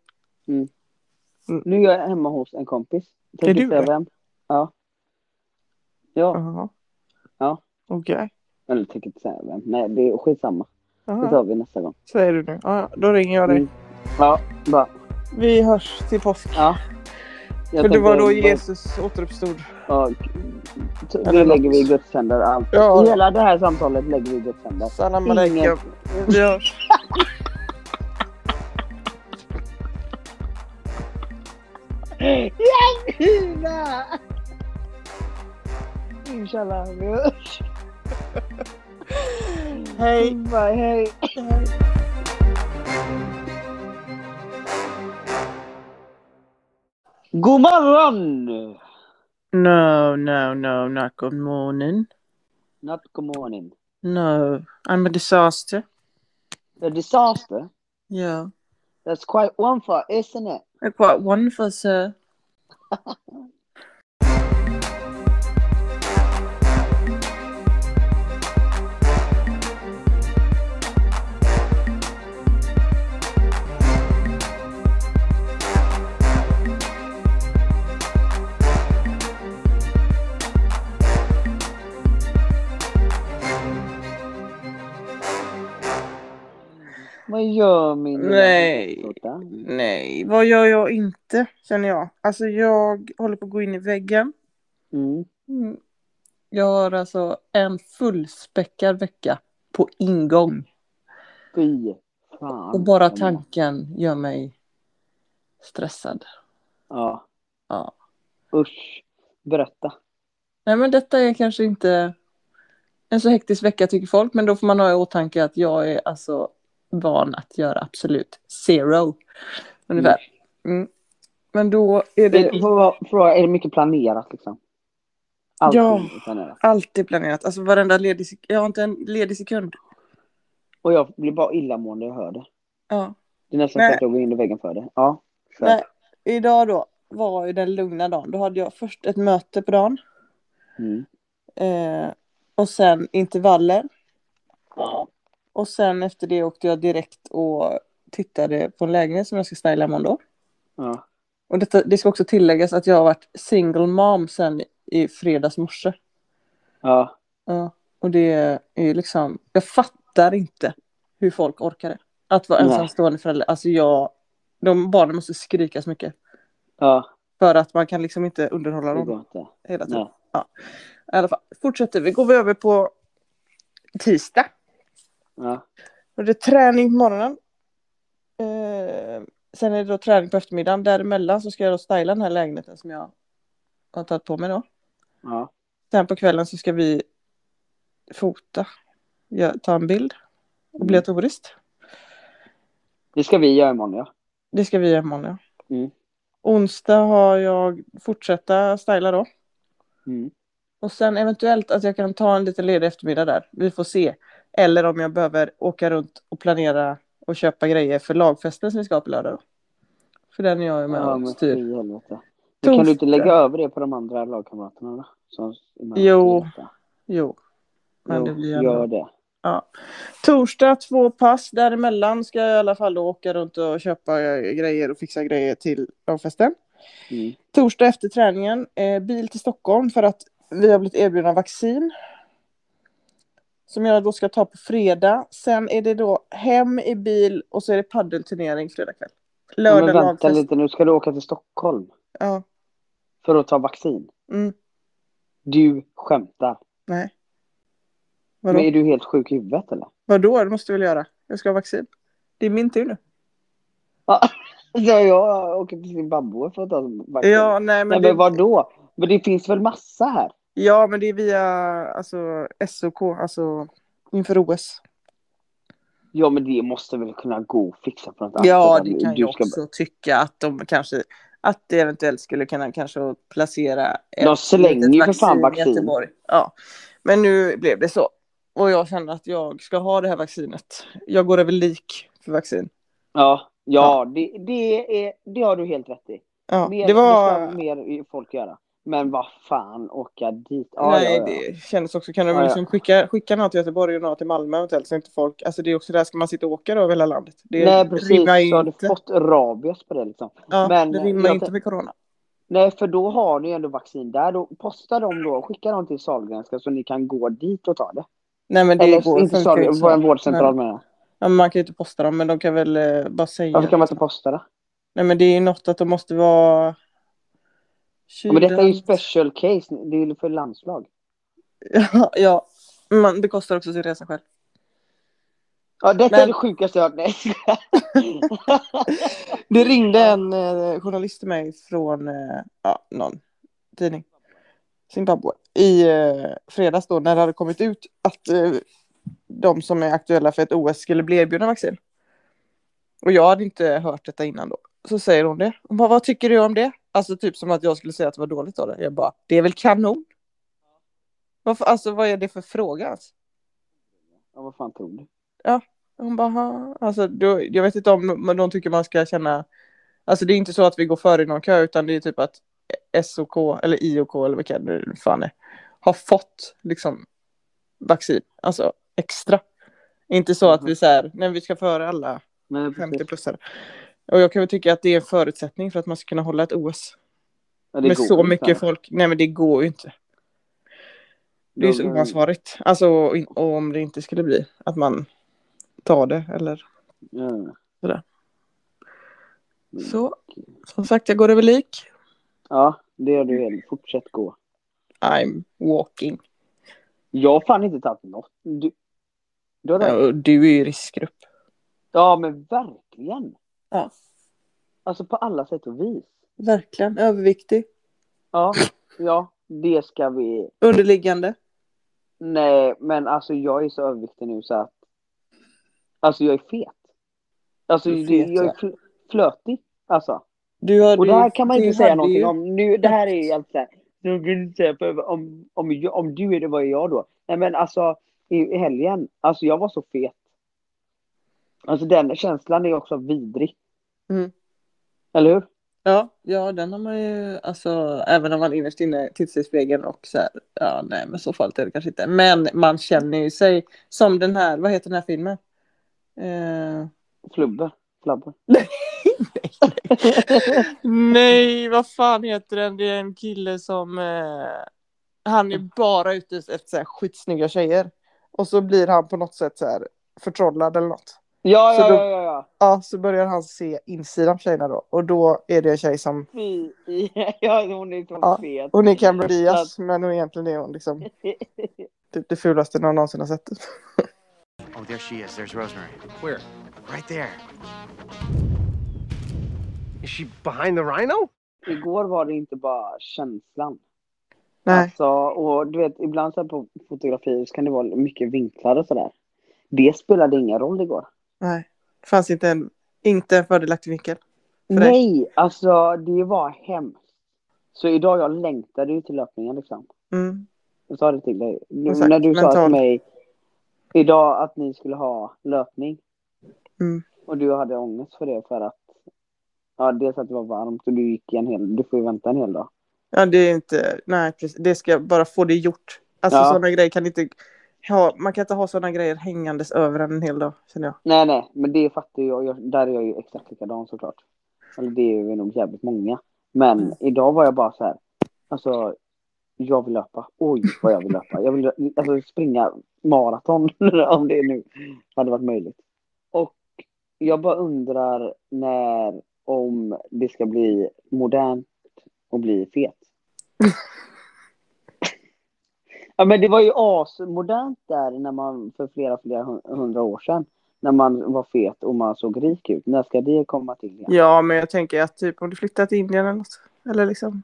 S1: Nu är jag hemma hos en kompis. Tänk
S2: Är du
S1: inte säga
S2: det?
S1: vem. Ja. Ja,
S2: Jaha.
S1: Ja.
S2: Okej.
S1: eller tänk inte säga vem. Nej, det är skitsamma. Det
S2: Jaha.
S1: tar vi nästa gång.
S2: Säger du nu. Ja, ja. då ringer jag dig.
S1: Mm. Ja, bra.
S2: Vi hörs till påsk.
S1: Ja. Jag
S2: För det var
S1: tänkte-
S2: då Jesus återuppstod.
S1: Ja, t-
S2: Eller
S1: nu lägger vi i
S2: något.
S1: Guds händer allt.
S2: Ja.
S1: I hela det här samtalet lägger vi i Guds händer.
S2: *laughs* Salam
S1: Ingen-
S2: aleikum. Vi hörs.
S1: Fina! Inshallah, vi hörs.
S2: Hej.
S4: Mm,
S1: Bye, hej. God morgon!
S2: No, no, no, not good morning.
S1: Not good morning.
S2: No, I'm a disaster.
S1: The disaster,
S2: Yeah.
S1: that's quite one for, isn't it?
S2: They're quite wonderful, sir.
S1: Vad gör min lilla
S2: Nej.
S1: gulsota?
S2: Nej, vad gör jag inte, känner jag. Alltså jag håller på att gå in i väggen.
S1: Mm.
S4: Mm. Jag har alltså en fullspäckad vecka på ingång.
S1: Fy fan.
S4: Och bara tanken gör mig stressad.
S1: Ja.
S4: Ja.
S1: Usch. Berätta.
S4: Nej men detta är kanske inte en så hektisk vecka tycker folk, men då får man ha i åtanke att jag är alltså van att göra absolut zero. Ungefär. Mm. Men då är det
S1: Är, för, för, är det mycket planerat liksom? Allting
S2: Ja.
S1: är planerat.
S2: Alltid planerat. Alltså varenda ledig sekund. Jag har inte en ledig sekund.
S1: Och jag blir bara illamående när jag hör det.
S2: Ja.
S1: Det är nästan
S2: Nej.
S1: så att jag går in i väggen för det. Ja. kör.
S2: Nej. Idag då var ju den lugna dagen. Då hade jag först ett möte på dagen.
S1: Mm.
S2: Eh, och sen intervaller. Och sen efter det åkte jag direkt och tittade på en lägenhet som jag ska styla imorgon då.
S1: Ja.
S2: Och detta, det ska också tilläggas att jag har varit single mom sen i fredags morse.
S1: ja.
S2: Ja, och det är ju liksom, jag fattar inte hur folk orkar det. Att vara
S1: Nej.
S2: ensamstående förälder, alltså jag, de barnen måste skrika så mycket.
S1: Ja.
S2: För att man kan liksom inte underhålla
S1: Det
S2: dem
S1: går inte.
S2: hela tiden.
S1: Nej.
S2: I alla fall, fortsätter vi, går vi över på tisdag.
S1: Ja.
S2: Och det är träning på morgonen. Eh, sen är det då träning på eftermiddagen. Däremellan så ska jag då styla den här lägenheten som jag har tagit på mig då.
S1: Ja.
S2: Sen på kvällen så ska vi fota, ja, ta en bild obligatoriskt.
S1: Det ska vi göra imorgon ja.
S2: Det ska vi göra imorgon ja.
S1: Mm.
S2: Onsdag har jag fortsätta styla då.
S1: Mm.
S2: Och sen eventuellt att jag kan ta en liten ledig eftermiddag där. Vi får se. Eller om jag behöver åka runt och planera och köpa grejer för lagfesten som vi ska ha på lördag. Då. För den är jag ju med
S1: ja,
S2: och
S1: men
S2: styr.
S1: fy helvete. Men kan du inte
S2: Torsdag.
S1: lägga över det på de andra lagkamraterna då? Som är med och
S2: Jo.
S1: styr detta?
S2: Jo. Men det
S1: Jo,
S2: blir ändå-
S1: Gör det.
S2: Torsdag två pass. Däremellan ska jag i alla fall då åka runt och köpa eh, grejer och fixa grejer till lagfesten.
S1: Mm.
S2: Torsdag efter träningen, eh, bil till Stockholm för att vi har blivit erbjudna vaccin. Som jag då ska ta på fredag. Sen är det då hem i bil och så är det paddelturnering fredag kväll.
S1: Ja,
S2: Lördag
S1: men vänta
S2: lagfest.
S1: lite nu. Ska du åka till Stockholm?
S2: Ja.
S1: För att ta vaccin?
S2: Mm.
S1: Du skämtar.
S2: Nej. Vadå?
S1: Men är du helt sjuk i huvudet eller?
S2: Vadå? Det måste du väl göra? Jag ska ha vaccin. Det är min tur nu.
S1: Så jag åker till Zimbabwe för att ta vaccin.
S2: Ja, nej men,
S1: Nej,
S2: det,
S1: men vadå? Men det finns väl massa här?
S2: ja, men det är via alltså, SOK, alltså inför OS.
S1: Ja, men det måste väl kunna gå att fixa på något annat
S2: Ja,
S1: sätt.
S2: det kan
S1: Du
S2: jag
S1: ska-
S2: också tycka att de kanske att det eventuellt skulle kunna kanske placera
S1: De slänger ju för fan
S2: i
S1: vaccin.
S2: Göteborg. Ja, men nu blev det så. Och jag känner att jag ska ha det här vaccinet. Jag går över lik för vaccin.
S1: Ja, ja det, det, är, det har du helt rätt i.
S2: Ja,
S1: Mer,
S2: det var...
S1: ska mer folk göra. Men vad fan, åka dit. Ja,
S2: Nej,
S1: ja, ja.
S2: det kändes också. Kan de
S1: Ja, ja.
S2: liksom skicka, skicka några till Göteborg och några till Malmö eventuellt så inte folk... Alltså det är också där, ska man sitta och åka då över hela landet? Det
S1: Nej, precis.
S2: rimmar ju
S1: Så har du
S2: inte.
S1: fått rabies på det liksom.
S2: ja,
S1: men
S2: det rimmar
S1: jag
S2: ju inte
S1: tän-
S2: med corona.
S1: Nej, för då har ni ju ändå vaccin där. Då postar de då, skicka dem till Sahlgrenska så ni kan gå dit och ta det.
S2: Nej men det
S1: Eller
S2: går
S1: inte
S2: funkar ju
S1: Sahlgrenska,
S2: inte
S1: på en
S2: så.
S1: vårdcentral menar jag.
S2: ja, men Man kan ju inte posta dem men de kan väl eh, bara säga.
S1: Varför kan man inte posta det?
S2: Nej men det är ju något att de måste vara...
S1: Ja, men detta är ju
S2: Kylen.
S1: special case. Det är ju för landslag.
S2: Ja, *laughs* ja. Man bekostar också sin resa själv.
S1: Ja, detta
S2: Men-
S1: är det sjukaste jag har hört. Nej,
S2: Det ringde en eh, journalist till mig från eh, ja, någon tidning. Zimbabwe. I eh, fredags då när det hade kommit ut att eh, de som är aktuella för ett OS skulle bli erbjudna vaccin. Och jag hade inte hört detta innan då. Så säger hon det. Hon bara, vad tycker du om det? Alltså typ som att jag skulle säga att det var dåligt av det. Jag bara, det är väl kanon? Varför, alltså vad är det för fråga alltså? ens?
S1: ja, vad fan tror du?
S2: Hon bara, "Ha." alltså, då, jag vet inte om men de tycker man ska känna, alltså det är inte så att vi går före i någon kö utan det är typ att SOK eller IOK eller vad kan det nu fan är, har fått liksom vaccin, alltså extra. Inte så att vi så här, nej vi ska före alla
S1: Nej, Mm. precis.
S2: 50 plusare. Och jag kan väl tycka att det är en förutsättning för att man ska kunna hålla ett OS.
S1: Ja, det
S2: Med
S1: går
S2: så
S1: inte.
S2: mycket folk, nej men det går ju inte. Det är ju så
S1: Då-
S2: oansvarigt. Alltså och, in- och om det inte skulle bli att man tar det eller
S1: Ja. Mm.
S2: Sådär. så. Som sagt, jag går över lik.
S1: Ja, det gör du helt. Fortsätt gå.
S2: I'm walking.
S1: Jag har fan inte tagit något. Du, du har
S2: Ja, och Du är ju i riskgrupp.
S1: Ja, men verkligen.
S2: Ja.
S1: Alltså på alla sätt och vis.
S2: Verkligen. Överviktig.
S1: Ja, ja, det ska vi.
S2: Underliggande.
S1: Nej, men alltså jag är så överviktig nu så att. Alltså jag är fet. Alltså
S2: Du är
S1: det-
S2: fet,
S1: jag är
S2: ja.
S1: fl- flötig. Alltså.
S2: Du hade
S1: Och det
S2: ju-
S1: här kan man
S2: du
S1: inte säga
S2: hade
S1: någonting
S2: ju-
S1: om. Nu, det här är ju helt såhär. Nu kan du inte säga för- Om, om, jag- om du är det, vad är jag då? Nej men alltså i i helgen. Alltså jag var så fet. Alltså den känslan är också vidrig.
S2: Mm.
S1: Eller hur?
S2: Ja, ja, den har man ju, alltså även om man innerst inne tittar sig i spegeln och så här, ja nej men så farligt är det kanske inte. Men man känner ju sig som den här, vad heter den här filmen? Eh,
S1: Flubbe.
S2: *laughs*
S1: Flabbe.
S2: Nej, vad fan heter den? Det är en kille som... Eh, han är bara ute efter så här skitsnygga tjejer. Och så blir han på något sätt så här förtrollad eller något.
S1: Ja,
S2: Så
S1: ja,
S2: då-
S1: ja, ja, ja.
S2: Ja, så börjar han se insidan av tjejerna då. Och då är det en tjej som...
S1: Fy, *laughs* ja, hon är så
S2: Ja,
S1: fet.
S2: Hon är Cameron Diaz, men hon egentligen är hon liksom typ det fulaste någon någonsin har sett. *laughs*
S3: Oh, there she is. There's Rosemary. Where? Right there.
S5: Is she behind the rhino?
S1: *laughs* Igår var det inte bara känslan.
S2: Nej,
S1: Alltså, och du vet, ibland så här på fotografier så kan det vara mycket vinklar och sådär. Det spelade ingen roll igår.
S2: nej. Det fanns inte en, inte en fördelaktig vinkel. För dig?
S1: Nej, alltså det var hemskt. Så idag jag längtade ju till löpningen liksom.
S2: Mm.
S1: Jag sa det till dig. Nu,
S2: Exakt,
S1: när du sa
S2: mental.
S1: till mig idag att ni skulle ha löpning.
S2: Mm.
S1: Och du hade ångest för det för att ja, dels att det var varmt och du gick en hel, du får ju vänta en hel dag.
S2: Ja, det är inte, nej precis. Det ska jag bara få det gjort. Alltså
S1: Ja.
S2: sådana grejer kan inte, ha, man kan inte ha sådana grejer hängandes över en hel dag känner jag.
S1: Nej, nej, men det fattar jag. jag där är jag ju exakt likadan såklart. Eller det är vi nog jävligt många. Men
S2: Mm.
S1: idag var jag bara så här. Alltså, jag vill löpa. Oj, vad jag vill löpa. Jag vill alltså, springa maraton *laughs* om det nu hade varit möjligt. Och jag bara undrar när, om det ska bli modernt och bli fet. ja, men det var ju asmodernt där när man för flera, flera hun- hundra år sedan. När man var fet och man såg rik ut. När ska det komma till igen?
S2: Ja, men jag tänker att typ om du flyttar till Indien eller något, eller liksom,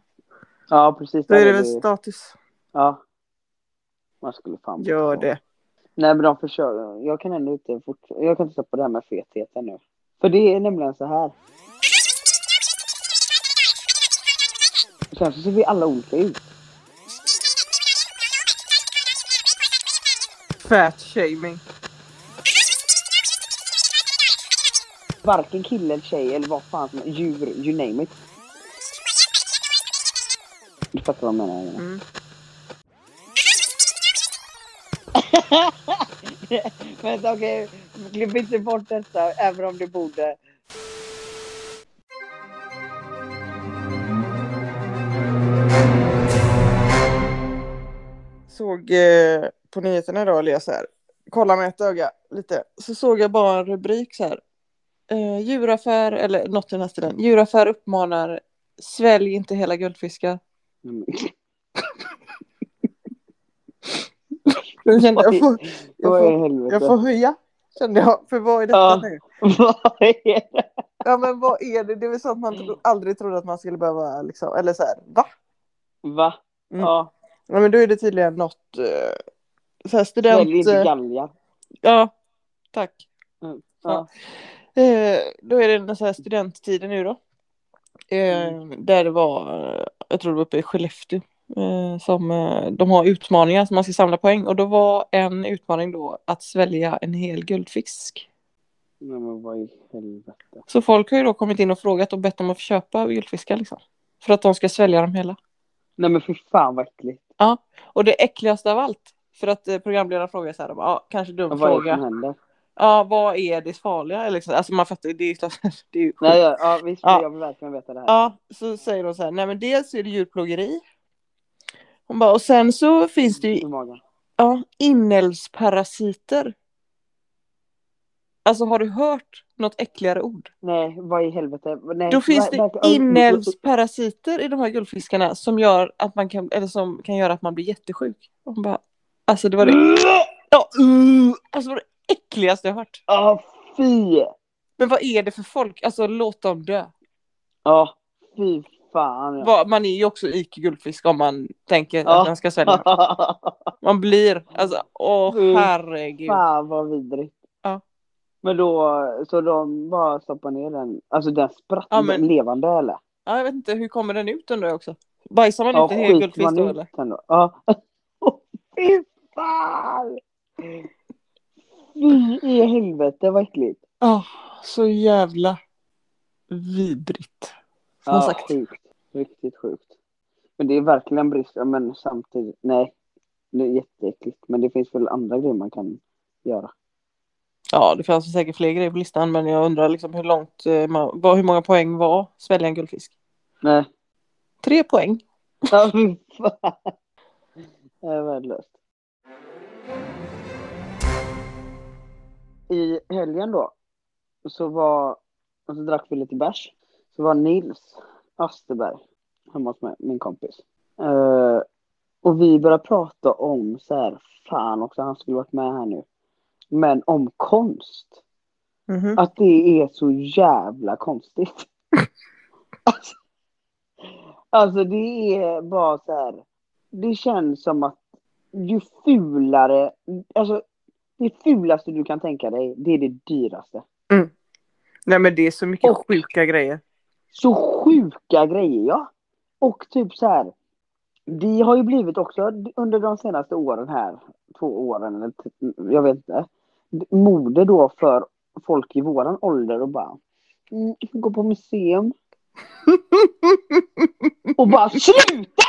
S1: Ja, precis.
S2: då
S1: där
S2: är det
S1: är
S2: väl
S1: det-
S2: status.
S1: Ja. Man skulle fan...
S2: Gör det.
S1: Nej, men de försöker. Jag kan ändå inte fort... Jag kan inte släppa det här med fetheten nu. För det är nämligen så här. Sen så ser vi alla olika ut.
S2: Fat shaming.
S1: Varken kille eller tjej eller vad fan som djur, you name it. Du fattar vad jag menar? Elina. *laughs*
S2: Mm.
S1: Vänta okej, klipp inte bort detta även om du borde.
S2: såg eh, på nyheterna idag, eller jag så här, kolla med ett öga lite, så såg jag bara en rubrik så här. Eh, djuraffär, eller något i den här stilen. Djuraffär uppmanar svälj inte hela guldfiskar. *laughs*
S1: Mm.
S2: Då kände jag, jag, får, jag,
S1: Vad i
S2: får,
S1: helvete?
S2: jag får höja, kände jag. För vad är detta
S1: Ja.
S2: nu?
S1: *laughs* Vad är det?
S2: Ja men vad är det? Det är väl sånt man
S1: Mm.
S2: tro- aldrig trodde att man skulle behöva liksom, eller så här, va?
S1: Va?
S2: Mm.
S1: Ja,
S2: Ja men då är det tydligen något, eh, så här
S1: välj
S2: student...
S1: inte
S2: Eh,
S1: galgar.
S2: ja, tack.
S1: Mm. Ja.
S2: Eh, då är det den så här studenttiden nu då. Eh,
S1: Mm.
S2: Där det var, eh, jag tror det var uppe i Skellefteå, eh, som eh, de har utmaningar som man ska samla poäng. Och då var en utmaning då att svälja en hel guldfisk.
S1: Nej, men vad i helvete.
S2: Så folk har ju då kommit in och frågat och bett om att få köpa guldfiskar liksom. För att de ska svälja dem hela.
S1: Nej men för fan vad äckligt.
S2: Och det äckligaste av allt, för att eh, programledaren frågar så här, de bara, ja, kanske dum
S1: Vad är det som
S2: fråga.
S1: händer?
S2: Ja, vad är det farliga? Eller Liksom. Alltså man fattar ju, det är ju klart, *laughs* det är ju
S1: Nej, ja, ja, visst,
S2: Ja.
S1: jag vill verkligen veta det här.
S2: Ja, så säger de så här, nej men dels är det djurplågeri. Hon bara, och sen så finns det
S1: I
S2: ju
S1: magen.
S2: ja, inälvsparasiter. Alltså har du hört något äckligare ord?
S1: Nej, vad i helvete. Nej, oh,
S2: Då finns
S1: vad-
S2: det
S1: verkligen-
S2: inälvsparasiter i de här guldfiskarna som gör att man kan, eller som kan göra att man blir jättesjuk. Hon bara, alltså det var det, ja, uh, alltså det var det äckligaste jag hört.
S1: Ja, fy!
S2: Men vad är det för folk? Alltså låt dem dö.
S1: Ja, fy fan. ja.
S2: Vad- Man är ju också IQ guldfisk om man tänker
S1: Ja.
S2: att man
S1: *laughs*
S2: ska svälja. Man blir, alltså åh
S1: Mm. *laughs*
S2: herregud.
S1: Fan vad vidrigt.
S2: Ja.
S1: Men då, så de bara stoppar ner den, alltså den spratt
S2: Ja, men-
S1: levande eller?
S2: Ja, jag vet inte, hur kommer den ut undrar jag också? Bajsar man
S1: Ja,
S2: inte hel
S1: skiter
S2: guldfisk
S1: man
S2: då
S1: ut
S2: eller?
S1: den då? Ja. *laughs* Fy fan! Fy i helvete vad äckligt.
S2: Ja, så jävla vidrigt. Som
S1: Ja,
S2: sagt.
S1: sjukt. Riktigt sjukt. Men det är verkligen brist, ja, men samtidigt, nej. Det är jätteäckligt, men det finns väl andra grejer man kan göra.
S2: Ja, det fanns säkert fler grejer på listan men jag undrar liksom hur långt, eh, man, vad, hur många poäng var svälja en guldfisk?
S1: Nej.
S2: Tre poäng.
S1: Ja, fy fan. Det är värdelöst. I helgen då så var, och så drack vi lite bärs. Så var Nils Asterberg hemma hos mig, min kompis. Eh, och vi började prata om så här, fan också, han skulle varit med här nu. Men om konst.
S2: Mhm.
S1: Att det är så jävla konstigt. Alltså, alltså det är bara så här. Det känns som att ju fulare, alltså det fulaste du kan tänka dig, det är det dyraste.
S2: Nej men det är så mycket
S1: Och-
S2: sjuka grejer.
S1: Så sjuka grejer ja. Och typ så här. Vi har ju blivit också under de senaste åren här, två åren eller t- jag vet inte, mode då för folk i våran ålder och bara mm, gå på
S2: *laughs*
S1: museum. och bara sluta!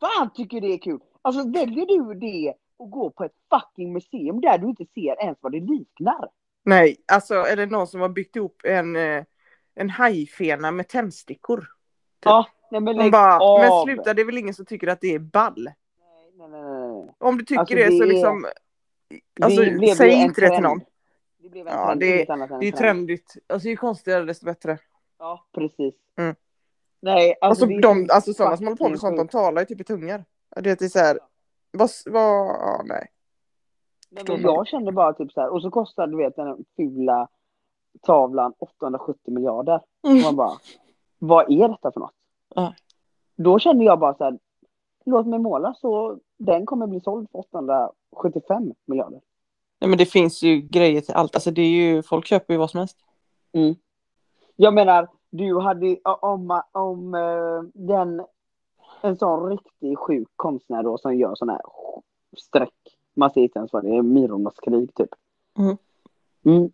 S1: Fan tycker det är kul. Alltså väljer du det och gå på ett fucking museum där du inte ser ens vad det liknar.
S2: Nej, alltså är det någon som har byggt ihop en, eh, en hajfena med tändstickor?
S1: Ja, nej men
S2: Hon
S1: lägg
S2: bara,
S1: av.
S2: men sluta det är väl ingen som tycker att det är ball?
S1: Nej, nej, nej, nej.
S2: Om du tycker
S1: Alltså,
S2: det,
S1: det
S2: så
S1: är-
S2: liksom...
S1: Det
S2: Alltså,
S1: blev ju
S2: säg
S1: en
S2: inte det till
S1: trend.
S2: någon.
S1: Det blev en
S2: Ja,
S1: trend, Alltså,
S2: det är-
S1: inget annat än
S2: Det är
S1: en
S2: ju trendigt. Alltså ju konstigare desto bättre.
S1: Ja, precis.
S2: Mm.
S1: Nej,
S2: Alltså,
S1: alltså, det är
S2: de,
S1: så
S2: alltså sådana som håller på med sånt,
S1: fucking
S2: de
S1: sjukt.
S2: talar ju typ i tungor. Det är så här, vad, vad, ja, *laughs* nej.
S1: Nej, men jag kände bara typ så här, och så kostar du vet den här fula tavlan 870 miljarder. Och man bara, *laughs* vad är detta för något?
S2: Ja.
S1: Då kände jag bara så här, låt mig måla så den kommer bli såld för 875 miljarder.
S2: Nej men det finns ju grejer till allt. Alltså det är ju, folk köper ju vad som helst.
S1: Jag menar, du hade om, om eh, den en sån riktig sjuk konstnär då som gör sån här streck. Man ser inte ens vad det är. Mirornas krig typ.
S2: Mm.
S1: Mm.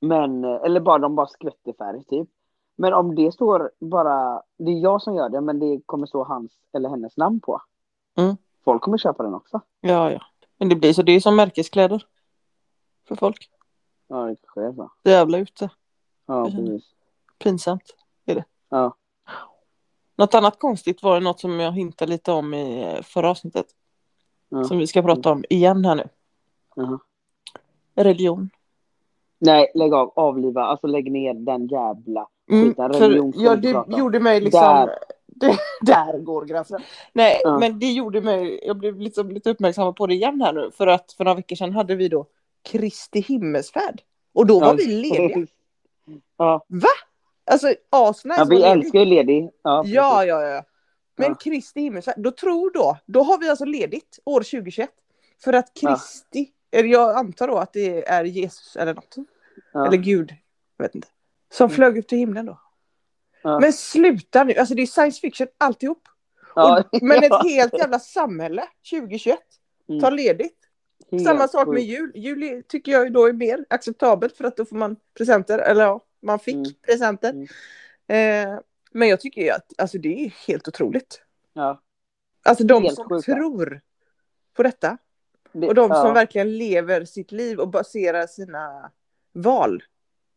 S1: Men, eh, eller bara de bara skvätter färg typ. Men om det står bara, det är jag som gör det men det kommer stå hans eller hennes namn på.
S2: Mm.
S1: Folk kommer köpa den också.
S2: Ja, ja. Men det blir så. Det är ju som märkeskläder. För folk.
S1: Ja, det kanske är så.
S2: Jävla ute.
S1: Ja,
S2: Mm.
S1: precis.
S2: Pinsamt.
S1: Ja.
S2: Något annat konstigt var det något som jag hintade lite om i eh, förra avsnittet.
S1: Ja.
S2: Som vi ska prata om igen här nu.
S1: Jaha.
S2: Religion.
S1: Nej, lägg av, avliva, alltså lägg ner den jävla
S2: Mm,
S1: Utan religion
S2: för,
S1: får
S2: ja,
S1: vi inte
S2: det
S1: prata om.
S2: gjorde mig liksom...
S1: Där.
S2: Det, *laughs* där går gränsen. Nej,
S1: Ja.
S2: men det gjorde mig... Jag blev liksom lite uppmärksam på det igen här nu. För att för några veckor sedan hade vi då Kristi himmelsfärd. Och då var
S1: Ja.
S2: vi lediga.
S1: Ja,
S2: Alltså asnice.
S1: ja
S2: var
S1: vi
S2: lediga.
S1: älskar ju ledig. Ja,
S2: Ja,
S1: precis.
S2: ja, ja. Men
S1: Ja.
S2: Kristi himmelsfärd, då tror då, då har vi alltså ledigt år 2021. För att
S1: Ja.
S2: Kristi, eller jag antar då att det är Jesus eller något.
S1: Ja. Mm.
S2: Eller Gud, jag vet inte. Som flög upp till himlen då.
S1: Ja.
S2: Men sluta nu, alltså det är science fiction alltihop.
S1: ja.
S2: Och,
S1: *laughs*
S2: men
S1: Ja.
S2: ett helt jävla samhälle 2021
S1: Mm.
S2: tar ledigt.
S1: Helt
S2: Samma sak med
S1: sjukt.
S2: jul. Jul är- tycker jag ju då är mer acceptabelt för att då får man presenter. Eller ja, man fick
S1: Mm.
S2: presenter.
S1: Mm.
S2: Eh, men jag tycker ju att alltså, det är helt otroligt.
S1: Ja.
S2: Alltså de
S1: Helt
S2: som
S1: sjukt, va?
S2: tror på detta.
S1: Det-
S2: Och de
S1: ja.
S2: som verkligen lever sitt liv och baserar sina val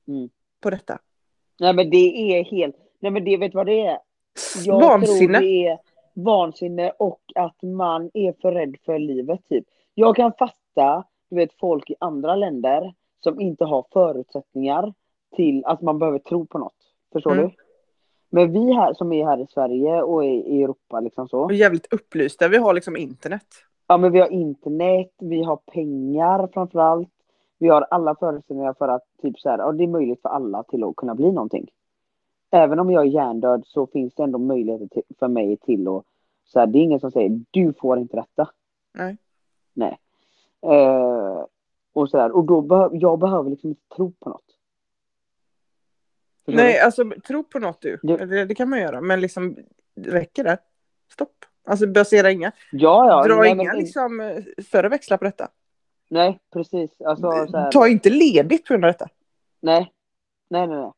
S1: Mm.
S2: på detta.
S1: Nej men det är helt, nej men det vet du vad det är. Jag
S2: Vansinne.
S1: tror det är vansinne och att man är för rädd för livet typ. Jag kan fatta, du vet folk i andra länder som inte har förutsättningar till att man behöver tro på något. Förstår
S2: Mm.
S1: du? Men vi här som är här i Sverige och i i Europa liksom så.
S2: Och jävligt upplysta. Vi har liksom internet.
S1: Ja men vi har internet, vi har pengar framförallt. Vi har alla förutsättningar för att typ så här, ja, det är möjligt för alla till att kunna bli någonting. Även om jag är hjärndöd så finns det ändå möjligheter till, för mig till att så här, det är ingen som säger du får inte detta.
S2: Nej.
S1: Nej. Eh, och så här, och då behöver jag behöver liksom inte tro på något. Förstår
S2: Nej, alltså tro på något du.
S1: Du-
S2: Det, det kan man göra. Men liksom, räcker det? Stopp. Alltså basera inga
S1: du? Ja, ja.
S2: Dra
S1: nej,
S2: inga
S1: men-
S2: liksom, eh, större växlar på detta.
S1: Nej, precis. Alltså, så här,
S2: Ta inte ledigt på grund av detta.
S1: nej. nej, nej, nej.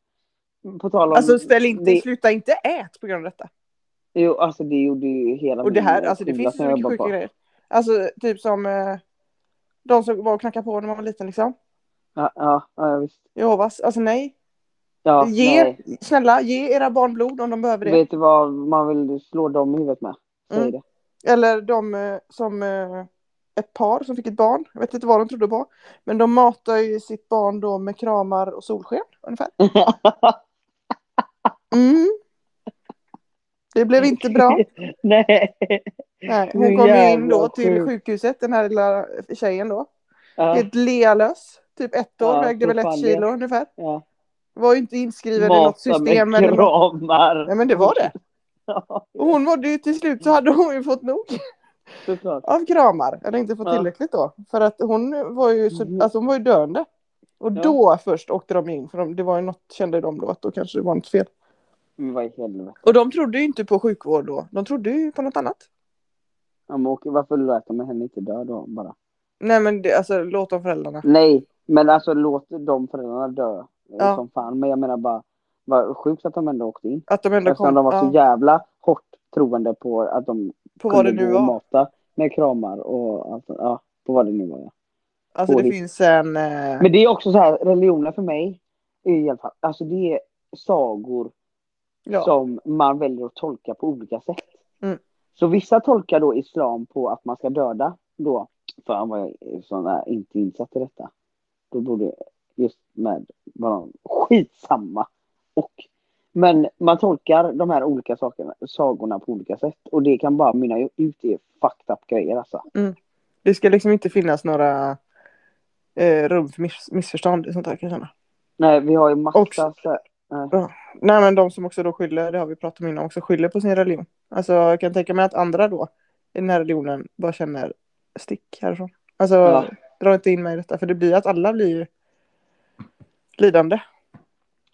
S1: På tal om...
S2: Alltså ställ inte,
S1: det-
S2: sluta inte ät på grund av detta.
S1: Jo, alltså det gjorde ju hela
S2: Och det
S1: min eh,
S2: här, alltså det
S1: skola
S2: finns
S1: som
S2: så
S1: jag
S2: mycket
S1: jobbar
S2: sjuka
S1: på.
S2: grejer. Alltså typ som eh, de som var och knackade på när man var liten liksom.
S1: Ja, ja, ja visst.
S2: Jehovas, alltså nej.
S1: Ja,
S2: ge,
S1: nej.
S2: snälla, ge era barn blod om de behöver det.
S1: Vet du vad man vill slå dem i huvudet med? Säg
S2: Mm.
S1: det.
S2: Eller de eh, som, eh, ett par som fick ett barn, jag vet inte vad de trodde på. Men de matar ju sitt barn då med kramar och solsken
S1: *laughs*
S2: ungefär. Mm. Det blev
S1: *laughs*
S2: inte bra.
S1: nej.
S2: Nej,
S1: Det
S2: hon
S1: är
S2: kom ju in
S1: jävla
S2: då till
S1: sjukt.
S2: sjukhuset, den här lilla tjejen då.
S1: Ja,
S2: Helt lealös, typ ett år,
S1: Ja,
S2: vägde väl ett
S1: fortfarande.
S2: kilo ungefär.
S1: ja.
S2: Var ju inte inskriven i något
S1: Mata
S2: system.
S1: med
S2: Eller... nå-
S1: kramar.
S2: Nej men Oh. det var det.
S1: *laughs* Ja,
S2: Och hon mådde ju till slut så hade hon ju fått nog
S1: såklart.
S2: av kramar. Eller inte fått
S1: Ja.
S2: tillräckligt då. För att hon var ju, så...
S1: Mhm.
S2: alltså, hon var ju döende. Och
S1: Ja.
S2: då först åkte de in. För de... det var ju något, kände de då att då kanske det var något fel.
S1: Men vad i helvete.
S2: Och de trodde ju inte på sjukvård då. De trodde ju på något annat.
S1: Ja, men okej, varför lät de henne inte dö då bara?
S2: Nej men det, alltså låt de föräldrarna.
S1: Nej, men alltså låt de föräldrarna dö. eh,
S2: Ja.
S1: Som fan. Men jag menar bara, vad sjukt att de ändå åkte in.
S2: Att de ändå
S1: Eftersom
S2: kom.
S1: de var så
S2: ja.
S1: jävla hårt troende på att de
S2: på vad det
S1: kunde
S2: nu
S1: gå och
S2: var.
S1: mata med kramar och allt, ja, på vad det nu var. Ja.
S2: Alltså det
S1: påhitt.
S2: finns en... Eh,
S1: Men det är också så här, religionen för mig är i alla fall, alltså det är sagor
S2: ja.
S1: som man väljer att tolka på olika sätt.
S2: Mm.
S1: Så vissa tolkar då islam på att man ska döda då, fan vad jag är sån här, inte insatt i detta. Då borde just med vad de, skitsamma. Och, men man tolkar de här olika sakerna, sagorna på olika sätt och det kan bara mynna ut i fucked up grejer alltså.
S2: Det ska liksom inte finnas några eh, rum för miss missförstånd. i Sånt här, kan jag känna.
S1: Nej, vi har ju massa
S2: Och-
S1: så här,
S2: Nej men de som också då skyller, det har vi pratat om innan också, skyller på sin religion. Alltså jag kan tänka mig att andra då i den här religionen bara känner stick härifrån. Alltså
S1: Ja.
S2: dra inte in mig i detta för det blir att alla blir ju lidande.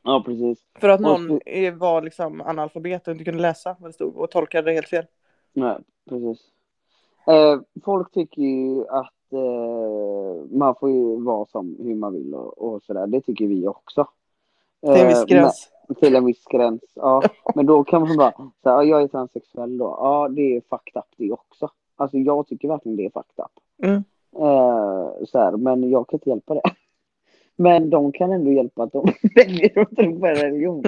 S1: Ja, precis.
S2: För att
S1: Och
S2: någon
S1: så-
S2: är- var
S1: Eh,
S2: liksom analfabet och inte kunde läsa vad det stod och tolkade det helt fel.
S1: Nej, precis. Eh, folk tycker ju att eh, man får ju vara som hur man vill och, och sådär. Det tycker vi också.
S2: Det är en viss
S1: Eh,
S2: gräns.
S1: men- Till en viss gräns.
S2: *laughs*
S1: Ja. Men då kan man bara säga, ja, jag är transsexuell då. Ja, det är fucked up det också. Alltså jag tycker verkligen det är fucked up.
S2: Mm.
S1: Eh, så här, men jag kan inte hjälpa det. *laughs* Men de kan ändå hjälpa att de *laughs* väljer att tro på en religion.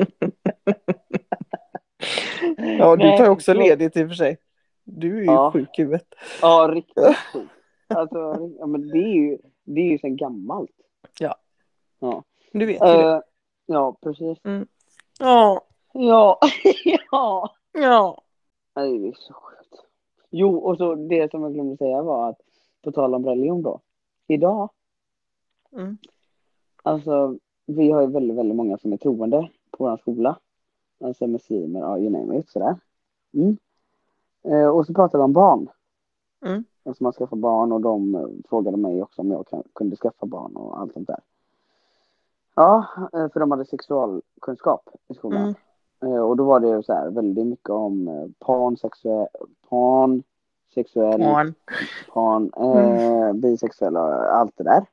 S2: Ja, du
S1: Nej,
S2: tar ju också
S1: då-
S2: ledigt i och för sig. Du är ju
S1: Ja.
S2: sjuk i huvudet.
S1: Ja, riktigt sjukt. Alltså, ja, men det är ju, det är ju sen gammalt.
S2: Du vet ju det.
S1: Eh, ja, precis.
S2: Ja,
S1: Ja, *laughs* ja.
S2: ja.
S1: Nej, det är så sjukt. Jo, och så det som jag glömde säga var att på tal om religion då. Idag.
S2: Mm.
S1: Alltså, vi har ju väldigt, väldigt många som är troende på vår skola. Alltså muslimer, ja, you name it, sådär. Mm. Eh, och så pratar vi om barn.
S2: Mm.
S1: Och så man skaffar barn och de eh, frågade mig också om jag kan, kunde skaffa barn och allt sånt där. Ja, eh, för de hade sexualkunskap i skolan.
S2: Mm.
S1: Eh, Och då var det ju så här väldigt mycket om eh, pansexuell, pansexuell,
S2: Barn.
S1: pan, eh, bisexuella och allt det där.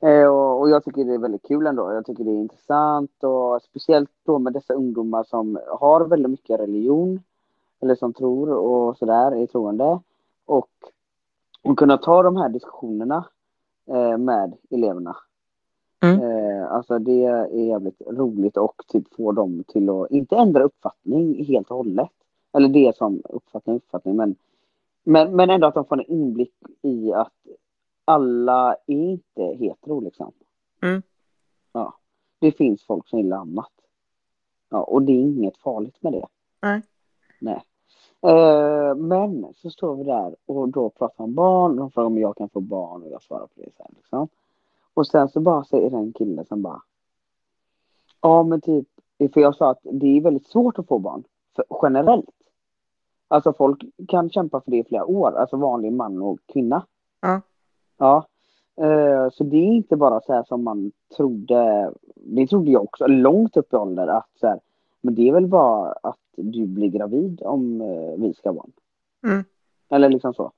S1: Eh, och, och jag tycker det är väldigt kul ändå. Jag tycker det är intressant och speciellt då med dessa ungdomar som har väldigt mycket religion eller som tror och sådär är troende och, och kunna ta de här diskussionerna eh, med eleverna.
S2: Mm.
S1: Eh, alltså det är jävligt roligt och typ få dem till att inte ändra uppfattning helt och hållet. Eller det som uppfattning uppfattning men men, men ändå att de får en inblick i att alla är inte hetero liksom.
S2: Mm.
S1: Ja. Det finns folk som gillar annat. Ja, och det är inget farligt med det.
S2: Nej.
S1: Nej. Eh, men så står vi där och då pratar om barn. De frågar om jag kan få barn och jag svarar på det så här, liksom. Och sen så bara säger den killen som bara. Ja men typ. För jag sa att det är väldigt svårt att få barn. För, generellt. Alltså folk kan kämpa för det i flera år, alltså vanlig man och kvinna.
S2: Ja.
S1: Ja. Eh, Så det är inte bara så här som man trodde, det trodde jag också, långt upp i ålder att så här, men det är väl bara att du blir gravid om eh, vi ska ha barn.
S2: Mm.
S1: Eller liksom så.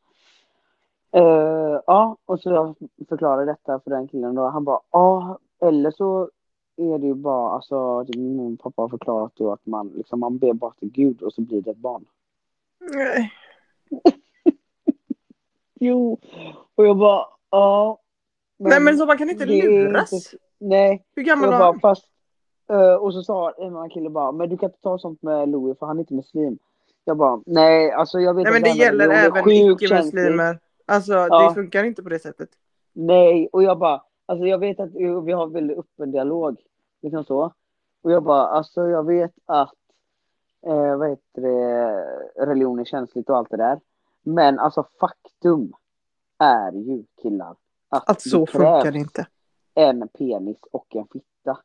S1: Eh, ja, och så jag förklarade detta för den killen då, han bara ja, eller så är det ju bara, alltså typ, min pappa har förklarat ju att man liksom, man ber bara till Gud och så blir det ett barn.
S2: Nej.
S1: Jo, och jag bara, ja.
S2: Nej men så man kan inte
S1: det är
S2: luras.
S1: inte- Nej,
S2: Hur
S1: och
S2: gammal
S1: jag
S2: var
S1: bara,
S2: han?
S1: fast. eh, och så sa en annan kille bara, men du kan inte ta sånt med Louie för han är inte muslim. Jag bara, nej alltså jag vet
S2: Nej men det
S1: han är,
S2: gäller
S1: men det är
S2: även
S1: sjukt känsligt.
S2: icke-muslimer. Alltså
S1: Ja.
S2: det funkar inte på det sättet.
S1: Nej, och jag bara, alltså jag vet att jo, vi har väldigt öppen dialog, liksom så. Och jag bara, alltså jag vet att, eh, vad heter det, religion är känsligt och allt det där. Men alltså faktum är ju killar att,
S2: Att så
S1: det krävs
S2: funkar det inte.
S1: en penis och en fitta.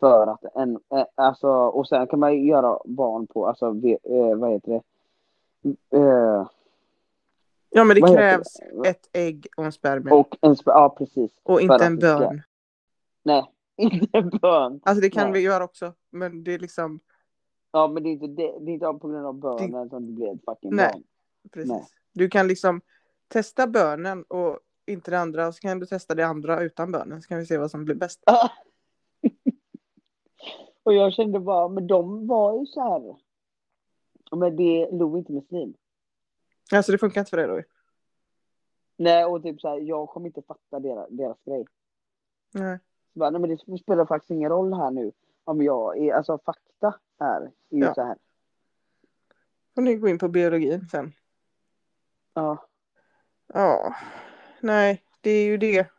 S1: För att en, eh, alltså, och sen kan man ju göra barn på, alltså ve- eh, vad heter det? Eh,
S2: Ja men det
S1: vad heter
S2: krävs
S1: det?
S2: ett ägg och en spermie. Och,
S1: Och en, sp- ja precis. för
S2: inte
S1: att
S2: en
S1: det ska-
S2: bön.
S1: Nej, *laughs* inte en bön.
S2: Alltså det kan
S1: Nej.
S2: vi göra också. Men det är liksom,
S1: Ja, men det är inte, det, det är inte på grund av bönen som det blir ett fucking
S2: Nej.
S1: barn. *laughs*
S2: precis.
S1: Nej.
S2: Du kan liksom testa bönen och inte det andra. Och så kan du testa det andra utan bönen. Så kan vi se vad som blir bäst.
S1: Och jag kände bara, men de var ju så här. Men det är Lo inte muslim.
S2: Alltså det funkar inte för dig då ju.
S1: Nej, och typ så här, jag kommer inte fatta deras, deras grej.
S2: Nej.
S1: Så Bara, nej, men det spelar faktiskt ingen roll här nu. Om jag är, alltså fakta här är ju
S2: Ja.
S1: så här.
S2: får ni gå in på biologin sen.
S1: Ja.
S2: Ja. Nej, det är ju det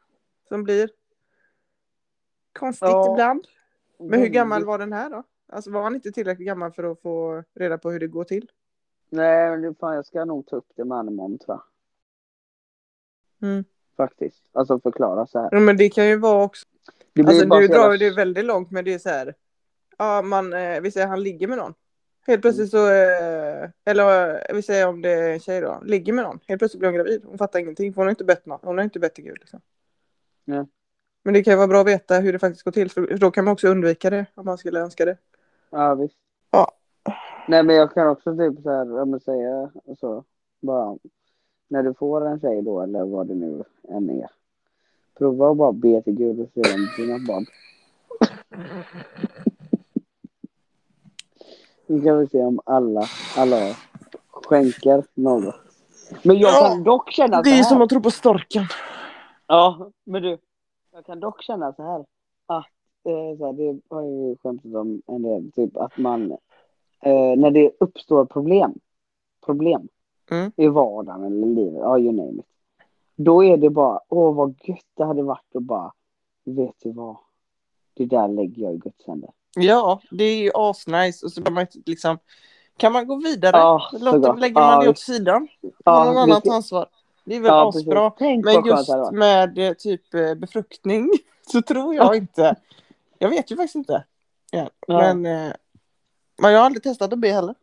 S2: som blir konstigt
S1: Ja.
S2: ibland. Men hur gammal var den här då? Alltså var han inte tillräckligt gammal för att få reda på hur det går till?
S1: Nej, men det- fan jag ska nog ta upp det med honom om tror jag.
S2: Mm.
S1: Faktiskt. Alltså förklara så här.
S2: Ja, men det kan ju vara också.
S1: Det blir
S2: Alltså
S1: bara
S2: nu
S1: så jävla-
S2: drar ju det väldigt långt men det är så här. Ja, man, eh, vi säger han ligger med någon. Helt plötsligt så, eh, eller eh, vi säger om det är en tjej då, ligger med någon. Helt plötsligt blir hon gravid. Hon fattar ingenting för hon har inte bett någon. Hon har inte bett till Gud liksom.
S1: Nej.
S2: Men det kan ju vara bra att veta hur det faktiskt går till för då kan man också undvika det om man skulle önska det.
S1: Ja, visst.
S2: Ja.
S1: Nej, men jag kan också typ så här, ja, men säga så. Bara, när du får en tjej då eller vad det nu än är. Prova att bara be till Gud och se om dina barn. Nu kan vi se om alla, alla skänker något. Men jag kan dock känna så
S2: Det är som
S1: här.
S2: att tro på storken.
S1: Ja, men du. Jag kan dock känna så här. Att, eh, så här det har jag ju skämtat om en del. Typ att man. Eh, när det uppstår problem. Problem.
S2: Mm.
S1: I vardagen eller livet. Ja, you name it. Då är det bara. Åh, vad gött det hade varit att bara. Vet du vad? Det där lägger jag i Guds händer.
S2: Ja, det är ju asnice. Och så kan man inte liksom... Kan man gå vidare?
S1: Ja,
S2: Låter,
S1: såklart.
S2: lägger man det
S1: Ja,
S2: åt sidan?
S1: ja,
S2: Ja, någon annan
S1: precis.
S2: tar ansvar. Det är väl
S1: Ja, precis.
S2: asbra.
S1: Tänk
S2: Men
S1: vad skönt
S2: just
S1: det hade varit.
S2: med eh, typ eh, befruktning *laughs* så tror jag inte. Jag vet ju faktiskt inte. Ja,
S1: Ja.
S2: Men, eh, men jag har aldrig testat att be heller.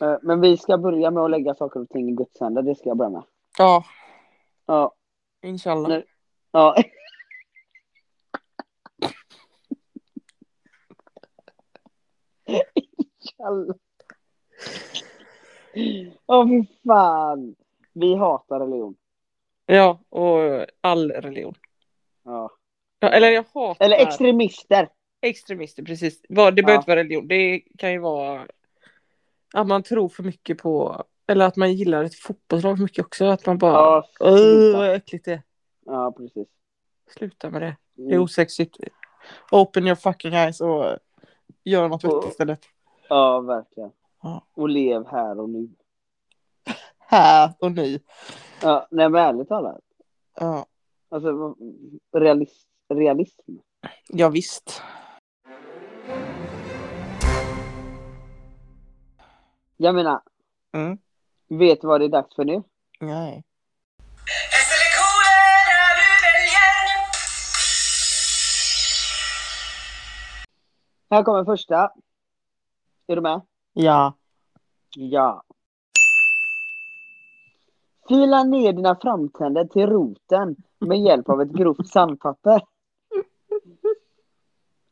S1: Eh, Men vi ska börja med att lägga saker och ting i Guds händer. Det ska jag börja med.
S2: Ja,
S1: Ja.
S2: inshallah.
S1: Nej. Ja. Jalla. Åh fy fan. Vi hatar religion.
S2: Ja, och eh, all religion.
S1: Ja.
S2: Ja, eller jag hatar
S1: Eller extremister.
S2: extremister, precis. Vad- Det behöver
S1: Ja.
S2: inte vara religion. Det kan ju vara att man tror för mycket på, eller att man gillar ett fotbollslag för mycket också. Att man bara,
S1: Ja,
S2: åh
S1: sluta.
S2: vad äckligt det är.
S1: ja precis.
S2: Sluta med det. Det är
S1: Mm.
S2: osexigt. Open your fucking eyes och gör något vettigt istället.
S1: Ja, verkligen.
S2: Ja.
S1: Och lev här och nu.
S2: Här och nu.
S1: Ja, nej men ärligt talat.
S2: Ja,
S1: Alltså, vad- realis- realism.
S2: ja visst.
S1: Jag menar,
S2: Mm.
S1: vet du vad det är dags för nu?
S2: Nej.
S1: Här kommer första. Är du med?
S2: Ja.
S1: Ja. Fila ner dina framtänder till roten med hjälp av ett grovt sandpapper.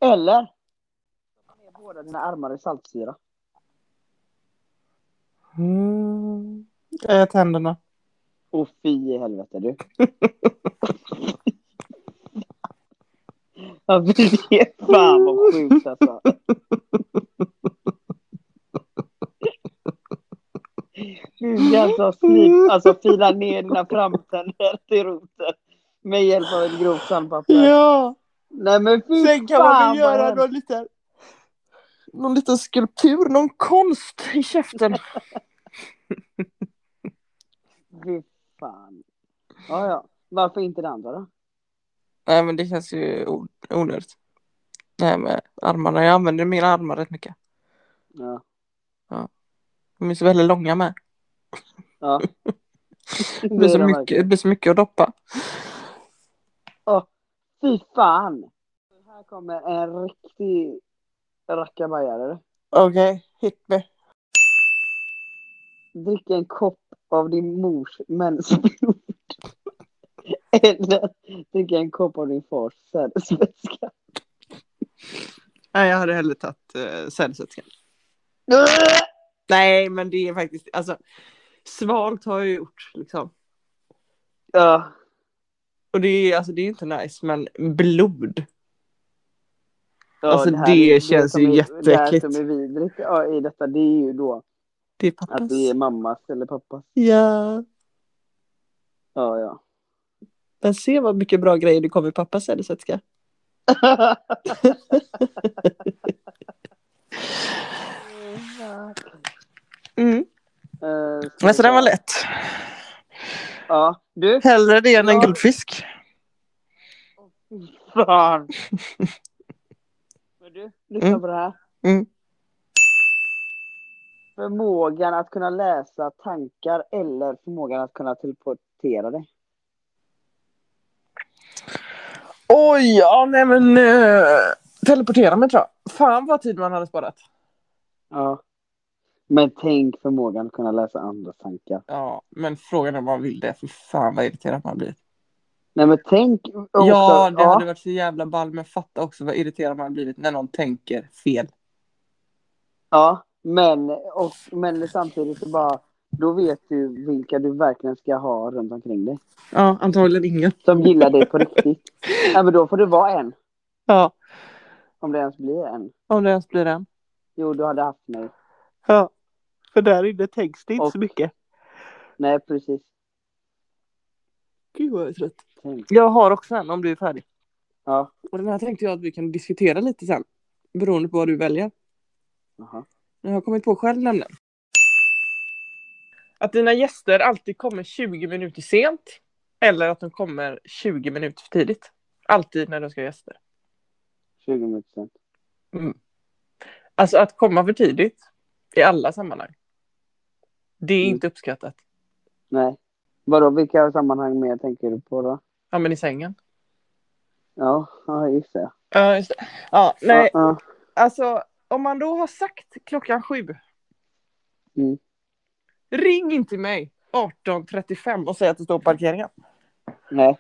S1: Eller stoppa ner båda dina armar i saltsyra.
S2: Mm. Eh, Tänderna.
S1: Och fy i helvete du. Ja, men det är fan vad sjukt alltså. Du ska alltså, slip, alltså fila ner dina framtänder till roten med hjälp av ett grovt sandpapper.
S2: Ja.
S1: Nej men fy
S2: Sen kan
S1: fan
S2: man ju göra
S1: hemskt.
S2: någon liten, någon liten skulptur, någon konst i käften.
S1: Fy fan. Ja, ja. Varför inte det andra då?
S2: Nej men det känns ju o- onödigt. Nej men armarna, jag använder mina armar rätt mycket.
S1: Ja.
S2: De är så väldigt långa med.
S1: ja.
S2: Det blir så
S1: de
S2: mycket, det blir så mycket att doppa.
S1: Fy fan! Här kommer en riktig rackabajare.
S2: Okej, hit me.
S1: Drick en kopp av din mors mensblod. Eller dricka en kopp av din fars sädesvätska.
S2: Nej jag hade hellre tagit uh, sädesvätskan. Nej men det är faktiskt, alltså svalt har jag gjort liksom.
S1: Ja,
S2: Och det är, alltså, det är inte nice men blod.
S1: ja,
S2: Alltså,
S1: här
S2: det
S1: är
S2: känns
S1: som
S2: ju
S1: är-
S2: jätteäckligt.
S1: Det här som är vidrigt ja, i detta det är ju då
S2: Det är pappas.
S1: att det är mammas eller pappas.
S2: Ja.
S1: Ja,
S2: *laughs*
S1: ja.
S2: Men se vad mycket bra grejer det kommer i pappas sädesvätska. Mm.
S1: Eh, ska vi
S2: Alltså den var
S1: se.
S2: lätt.
S1: Ja, du.
S2: Hellre det än en
S1: Ja.
S2: guldfisk.
S1: Fan. Men du, lyssna
S2: Mm.
S1: på det här.
S2: Mm.
S1: Förmågan att kunna läsa tankar eller förmågan att kunna teleportera dig.
S2: Oj, ja nej men. eh, teleportera mig tror jag. Fan vad tid man hade sparat.
S1: Ja. Men tänk förmågan att kunna läsa andra tankar.
S2: Ja, men frågan är om man vill det. För fan vad irriterad man blir.
S1: Nej men tänk också.
S2: ja, det
S1: ja.
S2: hade varit så jävla ball. Men fatta också vad irriterad man har blivit när någon tänker fel.
S1: Ja, men, och, men samtidigt så bara. Då vet du vilka du verkligen ska ha runt omkring dig.
S2: Ja, antagligen ingen.
S1: Som gillar dig på
S2: *laughs*
S1: riktigt. Ja, men då får du vara en.
S2: Ja,
S1: Om det ens blir en.
S2: om det ens blir den.
S1: Jo, du hade haft mig.
S2: Ja. För där inne tänks det inte
S1: Och-
S2: så mycket.
S1: Nej, precis.
S2: Gud vad jag är trött.
S1: Tänk.
S2: Jag har också en om du är färdig.
S1: Ja.
S2: Och den här tänkte jag att vi kan diskutera lite sen. Beroende på vad du väljer.
S1: Jaha.
S2: Jag har kommit på själv nämligen. Att dina gäster alltid kommer 20 minuter sent. Eller att de kommer 20 minuter för tidigt. Alltid när du ska ha gäster.
S1: 20 minuter sen.
S2: Alltså att komma för tidigt. I alla sammanhang. Det är
S1: Mm.
S2: inte uppskattat.
S1: Nej. Vadå, vilka sammanhang mer tänker du på då?
S2: Ja men i sängen.
S1: Ja, ja gissar jag.
S2: Ja just det. Ja nej.
S1: Ja,
S2: Alltså om man då har sagt klockan sju.
S1: Mm.
S2: Ring inte mig 18.35 och säg att du står på parkeringen.
S1: ja. Nej.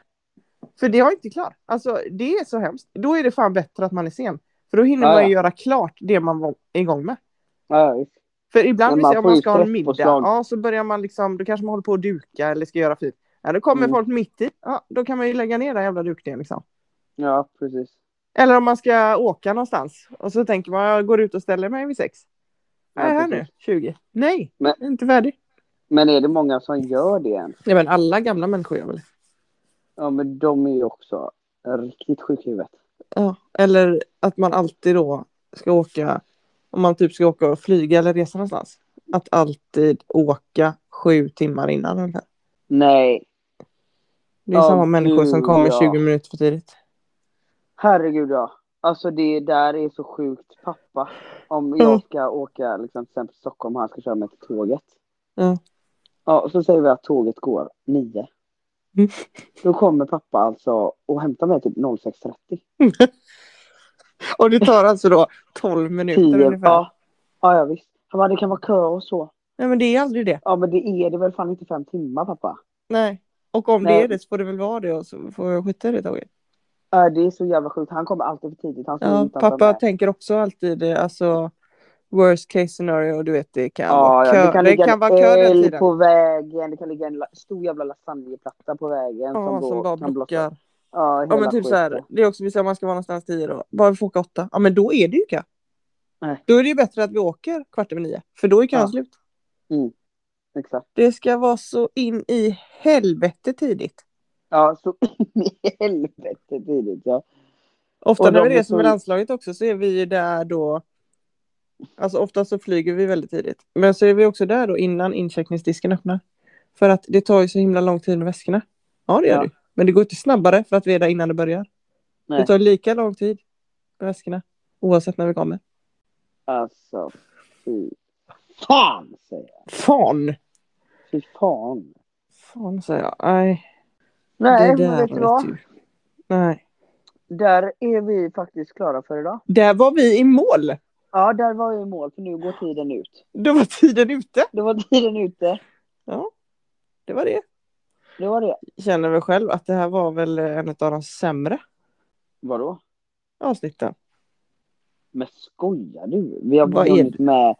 S2: För det har jag inte klart. Alltså det är så hemskt. Då är det fan bättre att man är sen. För då hinner
S1: Ja,
S2: man ju
S1: ja.
S2: göra klart det man var igång med.
S1: Ja, visst.
S2: För ibland
S1: Men
S2: vill
S1: man
S2: säga om
S1: får
S2: man
S1: ju
S2: ska ha en middag.
S1: stresspåslag.
S2: Ja, så börjar man liksom, då kanske man håller på att duka eller ska göra fint. Ja, då kommer
S1: Mm.
S2: folk mitt i. Ja, då kan man ju lägga ner den jävla dukningen liksom.
S1: Ja, precis.
S2: Eller om man ska åka någonstans och så tänker man, jag går ut och ställer mig vid sex.
S1: Ja,
S2: Nej, här
S1: precis.
S2: nu, 20. Nej,
S1: Men-
S2: jag är inte färdig.
S1: Men är det många som gör det än?
S2: Nej men alla gamla människor gör väl det.
S1: Ja, men de är ju också riktigt sjuka i huvudet.
S2: Ja, eller att man alltid då ska åka, om man typ ska åka och flyga eller resa någonstans, att alltid åka sju timmar innan. ungefär.
S1: Nej,
S2: Det är
S1: Ja,
S2: samma människor som
S1: gud,
S2: kommer
S1: ja.
S2: 20 minuter för tidigt.
S1: herregud ja. Alltså det där är så sjukt pappa. Om
S2: Mm.
S1: jag ska åka liksom, till exempel till Stockholm och han ska köra mig till tåget.
S2: Ja.
S1: Ja, och så säger vi att tåget går nio.
S2: Mm.
S1: Då kommer pappa alltså och hämtar mig typ 06.30.
S2: Och det tar alltså då 12 minuter
S1: Tio,
S2: ungefär.
S1: ja. ja, ja visst. Han bara, det kan vara kö och så.
S2: Nej men det är aldrig det.
S1: Ja, men det är det väl fan inte fem timmar pappa.
S2: Nej. Och om det
S1: Nej. Mm,
S2: är det så får det väl vara det och så får jag skita i det tåget.
S1: Ja, det är så jävla sjukt. Han kommer alltid för tidigt. Han står
S2: Ja,
S1: utanför
S2: pappa
S1: med.
S2: tänker också alltid eh, alltså worst case scenario, du vet det kan
S1: Ja,
S2: vara
S1: ja,
S2: kö.
S1: det kan
S2: det
S1: ligga
S2: kan vara
S1: en
S2: kö den
S1: älg
S2: tiden.
S1: på vägen, det kan ligga en la- stor jävla lasagneplatta på vägen.
S2: Ja,
S1: då
S2: som bara
S1: kan blossa.
S2: blockar.
S1: Ja,
S2: Ja
S1: hela
S2: men typ så här,
S1: skiten.
S2: det är också vi säger om man ska vara någonstans tio då, bara vi får åka åtta. Ja men då är det ju kö.
S1: Nej.
S2: Då är det ju bättre att vi åker kvart över nio, för då är kön
S1: Ja.
S2: slut.
S1: Exakt.
S2: Det ska vara så in i helvete tidigt.
S1: Ja, så *laughs* in i helvete tidigt. Ja.
S2: Ofta
S1: Och
S2: när
S1: de
S2: vi
S1: är
S2: reser
S1: så-
S2: med landslaget också så är vi ju där då, alltså ofta så flyger vi väldigt tidigt. Men så är vi också där då innan incheckningsdisken öppnar. För att det tar ju så himla lång tid med väskorna. Ja det gör
S1: Ja.
S2: det ju. Men det går inte snabbare för att vi är där innan det börjar.
S1: Nej.
S2: Det tar lika lång tid med väskorna, oavsett när vi kommer.
S1: Alltså, fy fan säger jag.
S2: Fan!
S1: Fy fan.
S2: Fan säger jag. Nej,
S1: Nej,
S2: det
S1: men
S2: där typ-
S1: vet du vad?
S2: du. Nej.
S1: Där är vi faktiskt klara för idag.
S2: Där var vi i mål.
S1: Ja, där var jag i mål, för nu går tiden ut.
S2: Då var tiden ute.
S1: Då var tiden ute.
S2: Det var det.
S1: Det var det.
S2: Känner väl själv att det här var väl eh, en av de sämre
S1: Vadå?
S2: avsnitten.
S1: Men skojar du? Vi har
S2: Vad
S1: bara
S2: är
S1: hunnit med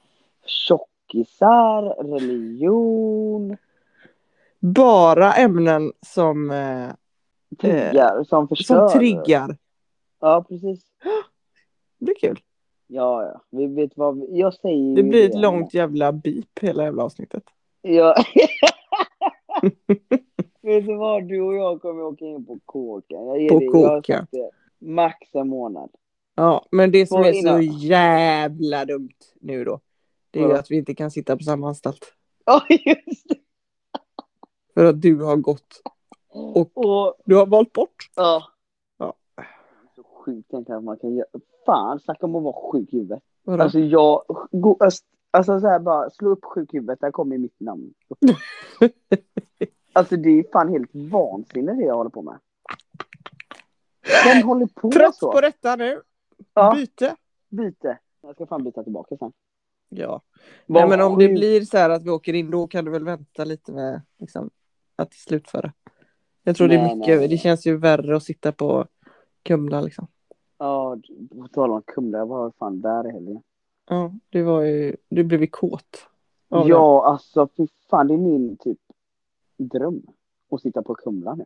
S1: tjockisar,
S2: Eh,
S1: religion,
S2: Bara ämnen som, eh,
S1: triggar som förstör.
S2: som triggar.
S1: Ja, precis.
S2: Det blir kul.
S1: Ja, ja. Vi vet vad vi... Jag säger ju
S2: Det blir ett
S1: men-
S2: långt jävla beep hela jävla avsnittet.
S1: Ja.
S2: *laughs*
S1: *laughs* vet du vad? Du och jag kommer åka in på kåken. Jag ger
S2: På
S1: dig- jag har
S2: kåken.
S1: sagt det. Max en månad. *laughs*
S2: Ja, men det som
S1: Vad
S2: är
S1: är
S2: så
S1: det?
S2: jävla dumt nu då. Det är ju
S1: Vadå?
S2: att vi inte kan sitta på samma anstalt.
S1: Ja, just det.
S2: För att du har gått.
S1: Och,
S2: Du har valt bort.
S1: ja.
S2: Ja.
S1: Så sjukt egentligen att man kan göra. Fan, snacka om att vara sjuk i huvudet.
S2: Vadå?
S1: Alltså jag, go, öst, alltså så här bara, slå upp sjuk i huvudet, där kommer mitt
S2: *laughs*
S1: namn. alltså det är fan helt vansinne det jag håller på med. Den håller på
S2: Trött
S1: så.
S2: på detta nu.
S1: Ja.
S2: Byte.
S1: Byte. Jag ska fan byta tillbaka sen.
S2: Ja. Nej,
S1: Vad
S2: men om det
S1: sjukt.
S2: blir så här att vi åker in då kan du väl vänta lite med liksom, att slutföra. Jag tror det är
S1: Nej,
S2: mycket,
S1: nej.
S2: det känns ju värre att sitta på Kumla liksom.
S1: Ja, på tal om Kumla, jag var fan där i helgen.
S2: Ja, du var ju, du blev ju kåt. av det.
S1: Ja, alltså fy fan, det är min typ dröm. Att sitta på Kumla nu.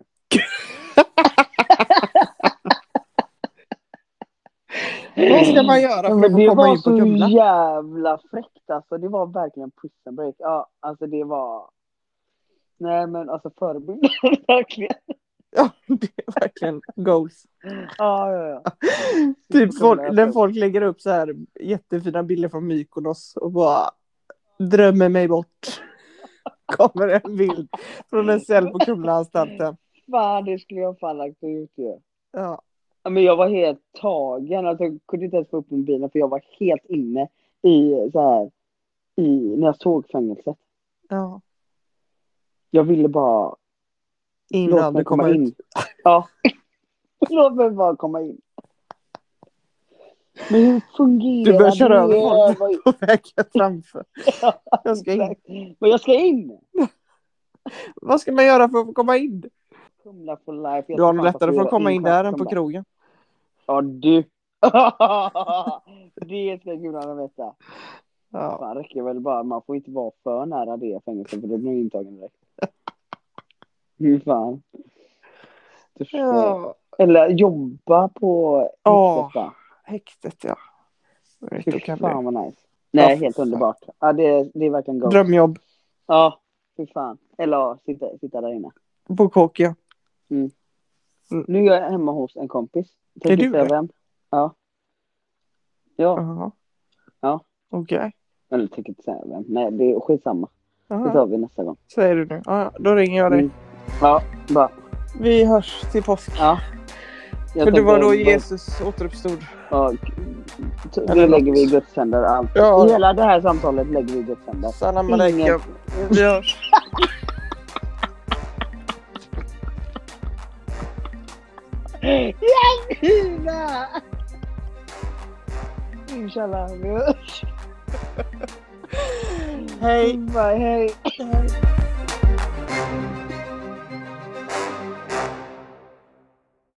S2: Vad ska man göra för
S1: Men
S2: att
S1: det
S2: få komma
S1: var
S2: in på
S1: så
S2: Kumla?
S1: jävla fräckt alltså. Det var verkligen puss and break. Ja, alltså det var... Nej men alltså förebilder *laughs* verkligen.
S2: Ja, *laughs* det är verkligen goals.
S1: Ja, ja, ja.
S2: *laughs* Typ folk, när folk lägger upp så här jättefina bilder från Mykonos och bara drömmer mig bort. *laughs* Kommer en bild från en cell på Kumlaanstalten.
S1: Fan, det skulle jag fan lagt ut ju.
S2: Ja.
S1: Ja, Men jag var helt tagen. Alltså, jag kunde inte ens få upp mobilen för jag var helt inne i så här, i, när jag såg fängelset.
S2: ja.
S1: Jag ville bara
S2: Innan du kommer
S1: in.
S2: ut.
S1: *laughs* Ja. Låt mig bara komma in. Men hur fungerar
S2: Du börjar köra
S1: det?
S2: över
S1: Vad-
S2: folk på vägen
S1: *laughs*
S2: framför. Jag ska in.
S1: Exakt. Men jag ska in!
S2: Vad ska man göra för att få komma in?
S1: Kumla for life. Jag
S2: Du har
S1: ska
S2: nog
S1: fan
S2: lättare för
S1: tatuera
S2: att komma in där än på
S1: Kumla.
S2: krogen.
S1: Ja, du. *laughs* det ska gudarna veta.
S2: Ja.
S1: Fan, räcker väl bara. Man får inte vara för nära det fängelset för då blir man intagen direkt. *laughs* Fy fan. Du förstår.
S2: ja.
S1: Eller jobba på
S2: Ja.
S1: häktet va?
S2: Häktet ja. Det är
S1: Fy
S2: Rätt okej.
S1: fan vad nice. Nej,
S2: Ja, fy
S1: helt
S2: fan.
S1: underbart. Ja, det, det är verkligen gott.
S2: Drömjobb
S1: Ja, fy fan. Eller ja, sitta, sitta där inne.
S2: på kåk ja.
S1: Nu är jag hemma hos en kompis. Tänker
S2: du
S1: säga
S2: det?
S1: vem? Ja. Ja,
S2: Jaha.
S1: Ja.
S2: Okej.
S1: eller tänker inte säga vem. Nej, det är skitsamma. Det
S2: Jaha.
S1: tar vi nästa gång.
S2: Säger du nu. Ja, ja. då ringer jag dig.
S1: Mm. Ja, bra.
S2: Vi hörs till påsk.
S1: Ja. Jag
S2: För det
S1: tänker-
S2: var då Jesus återuppstod.
S1: Ja,
S2: Eller
S1: nu
S2: något.
S1: lägger vi i Guds händer allt.
S2: Ja.
S1: Hela det här samtalet lägger vi i Guds händer.
S2: Salam
S1: Ingen-
S2: aleikum. Vi hörs.
S1: Tina! Inshallah, vi hörs.
S2: Hej.
S1: Bye, hej.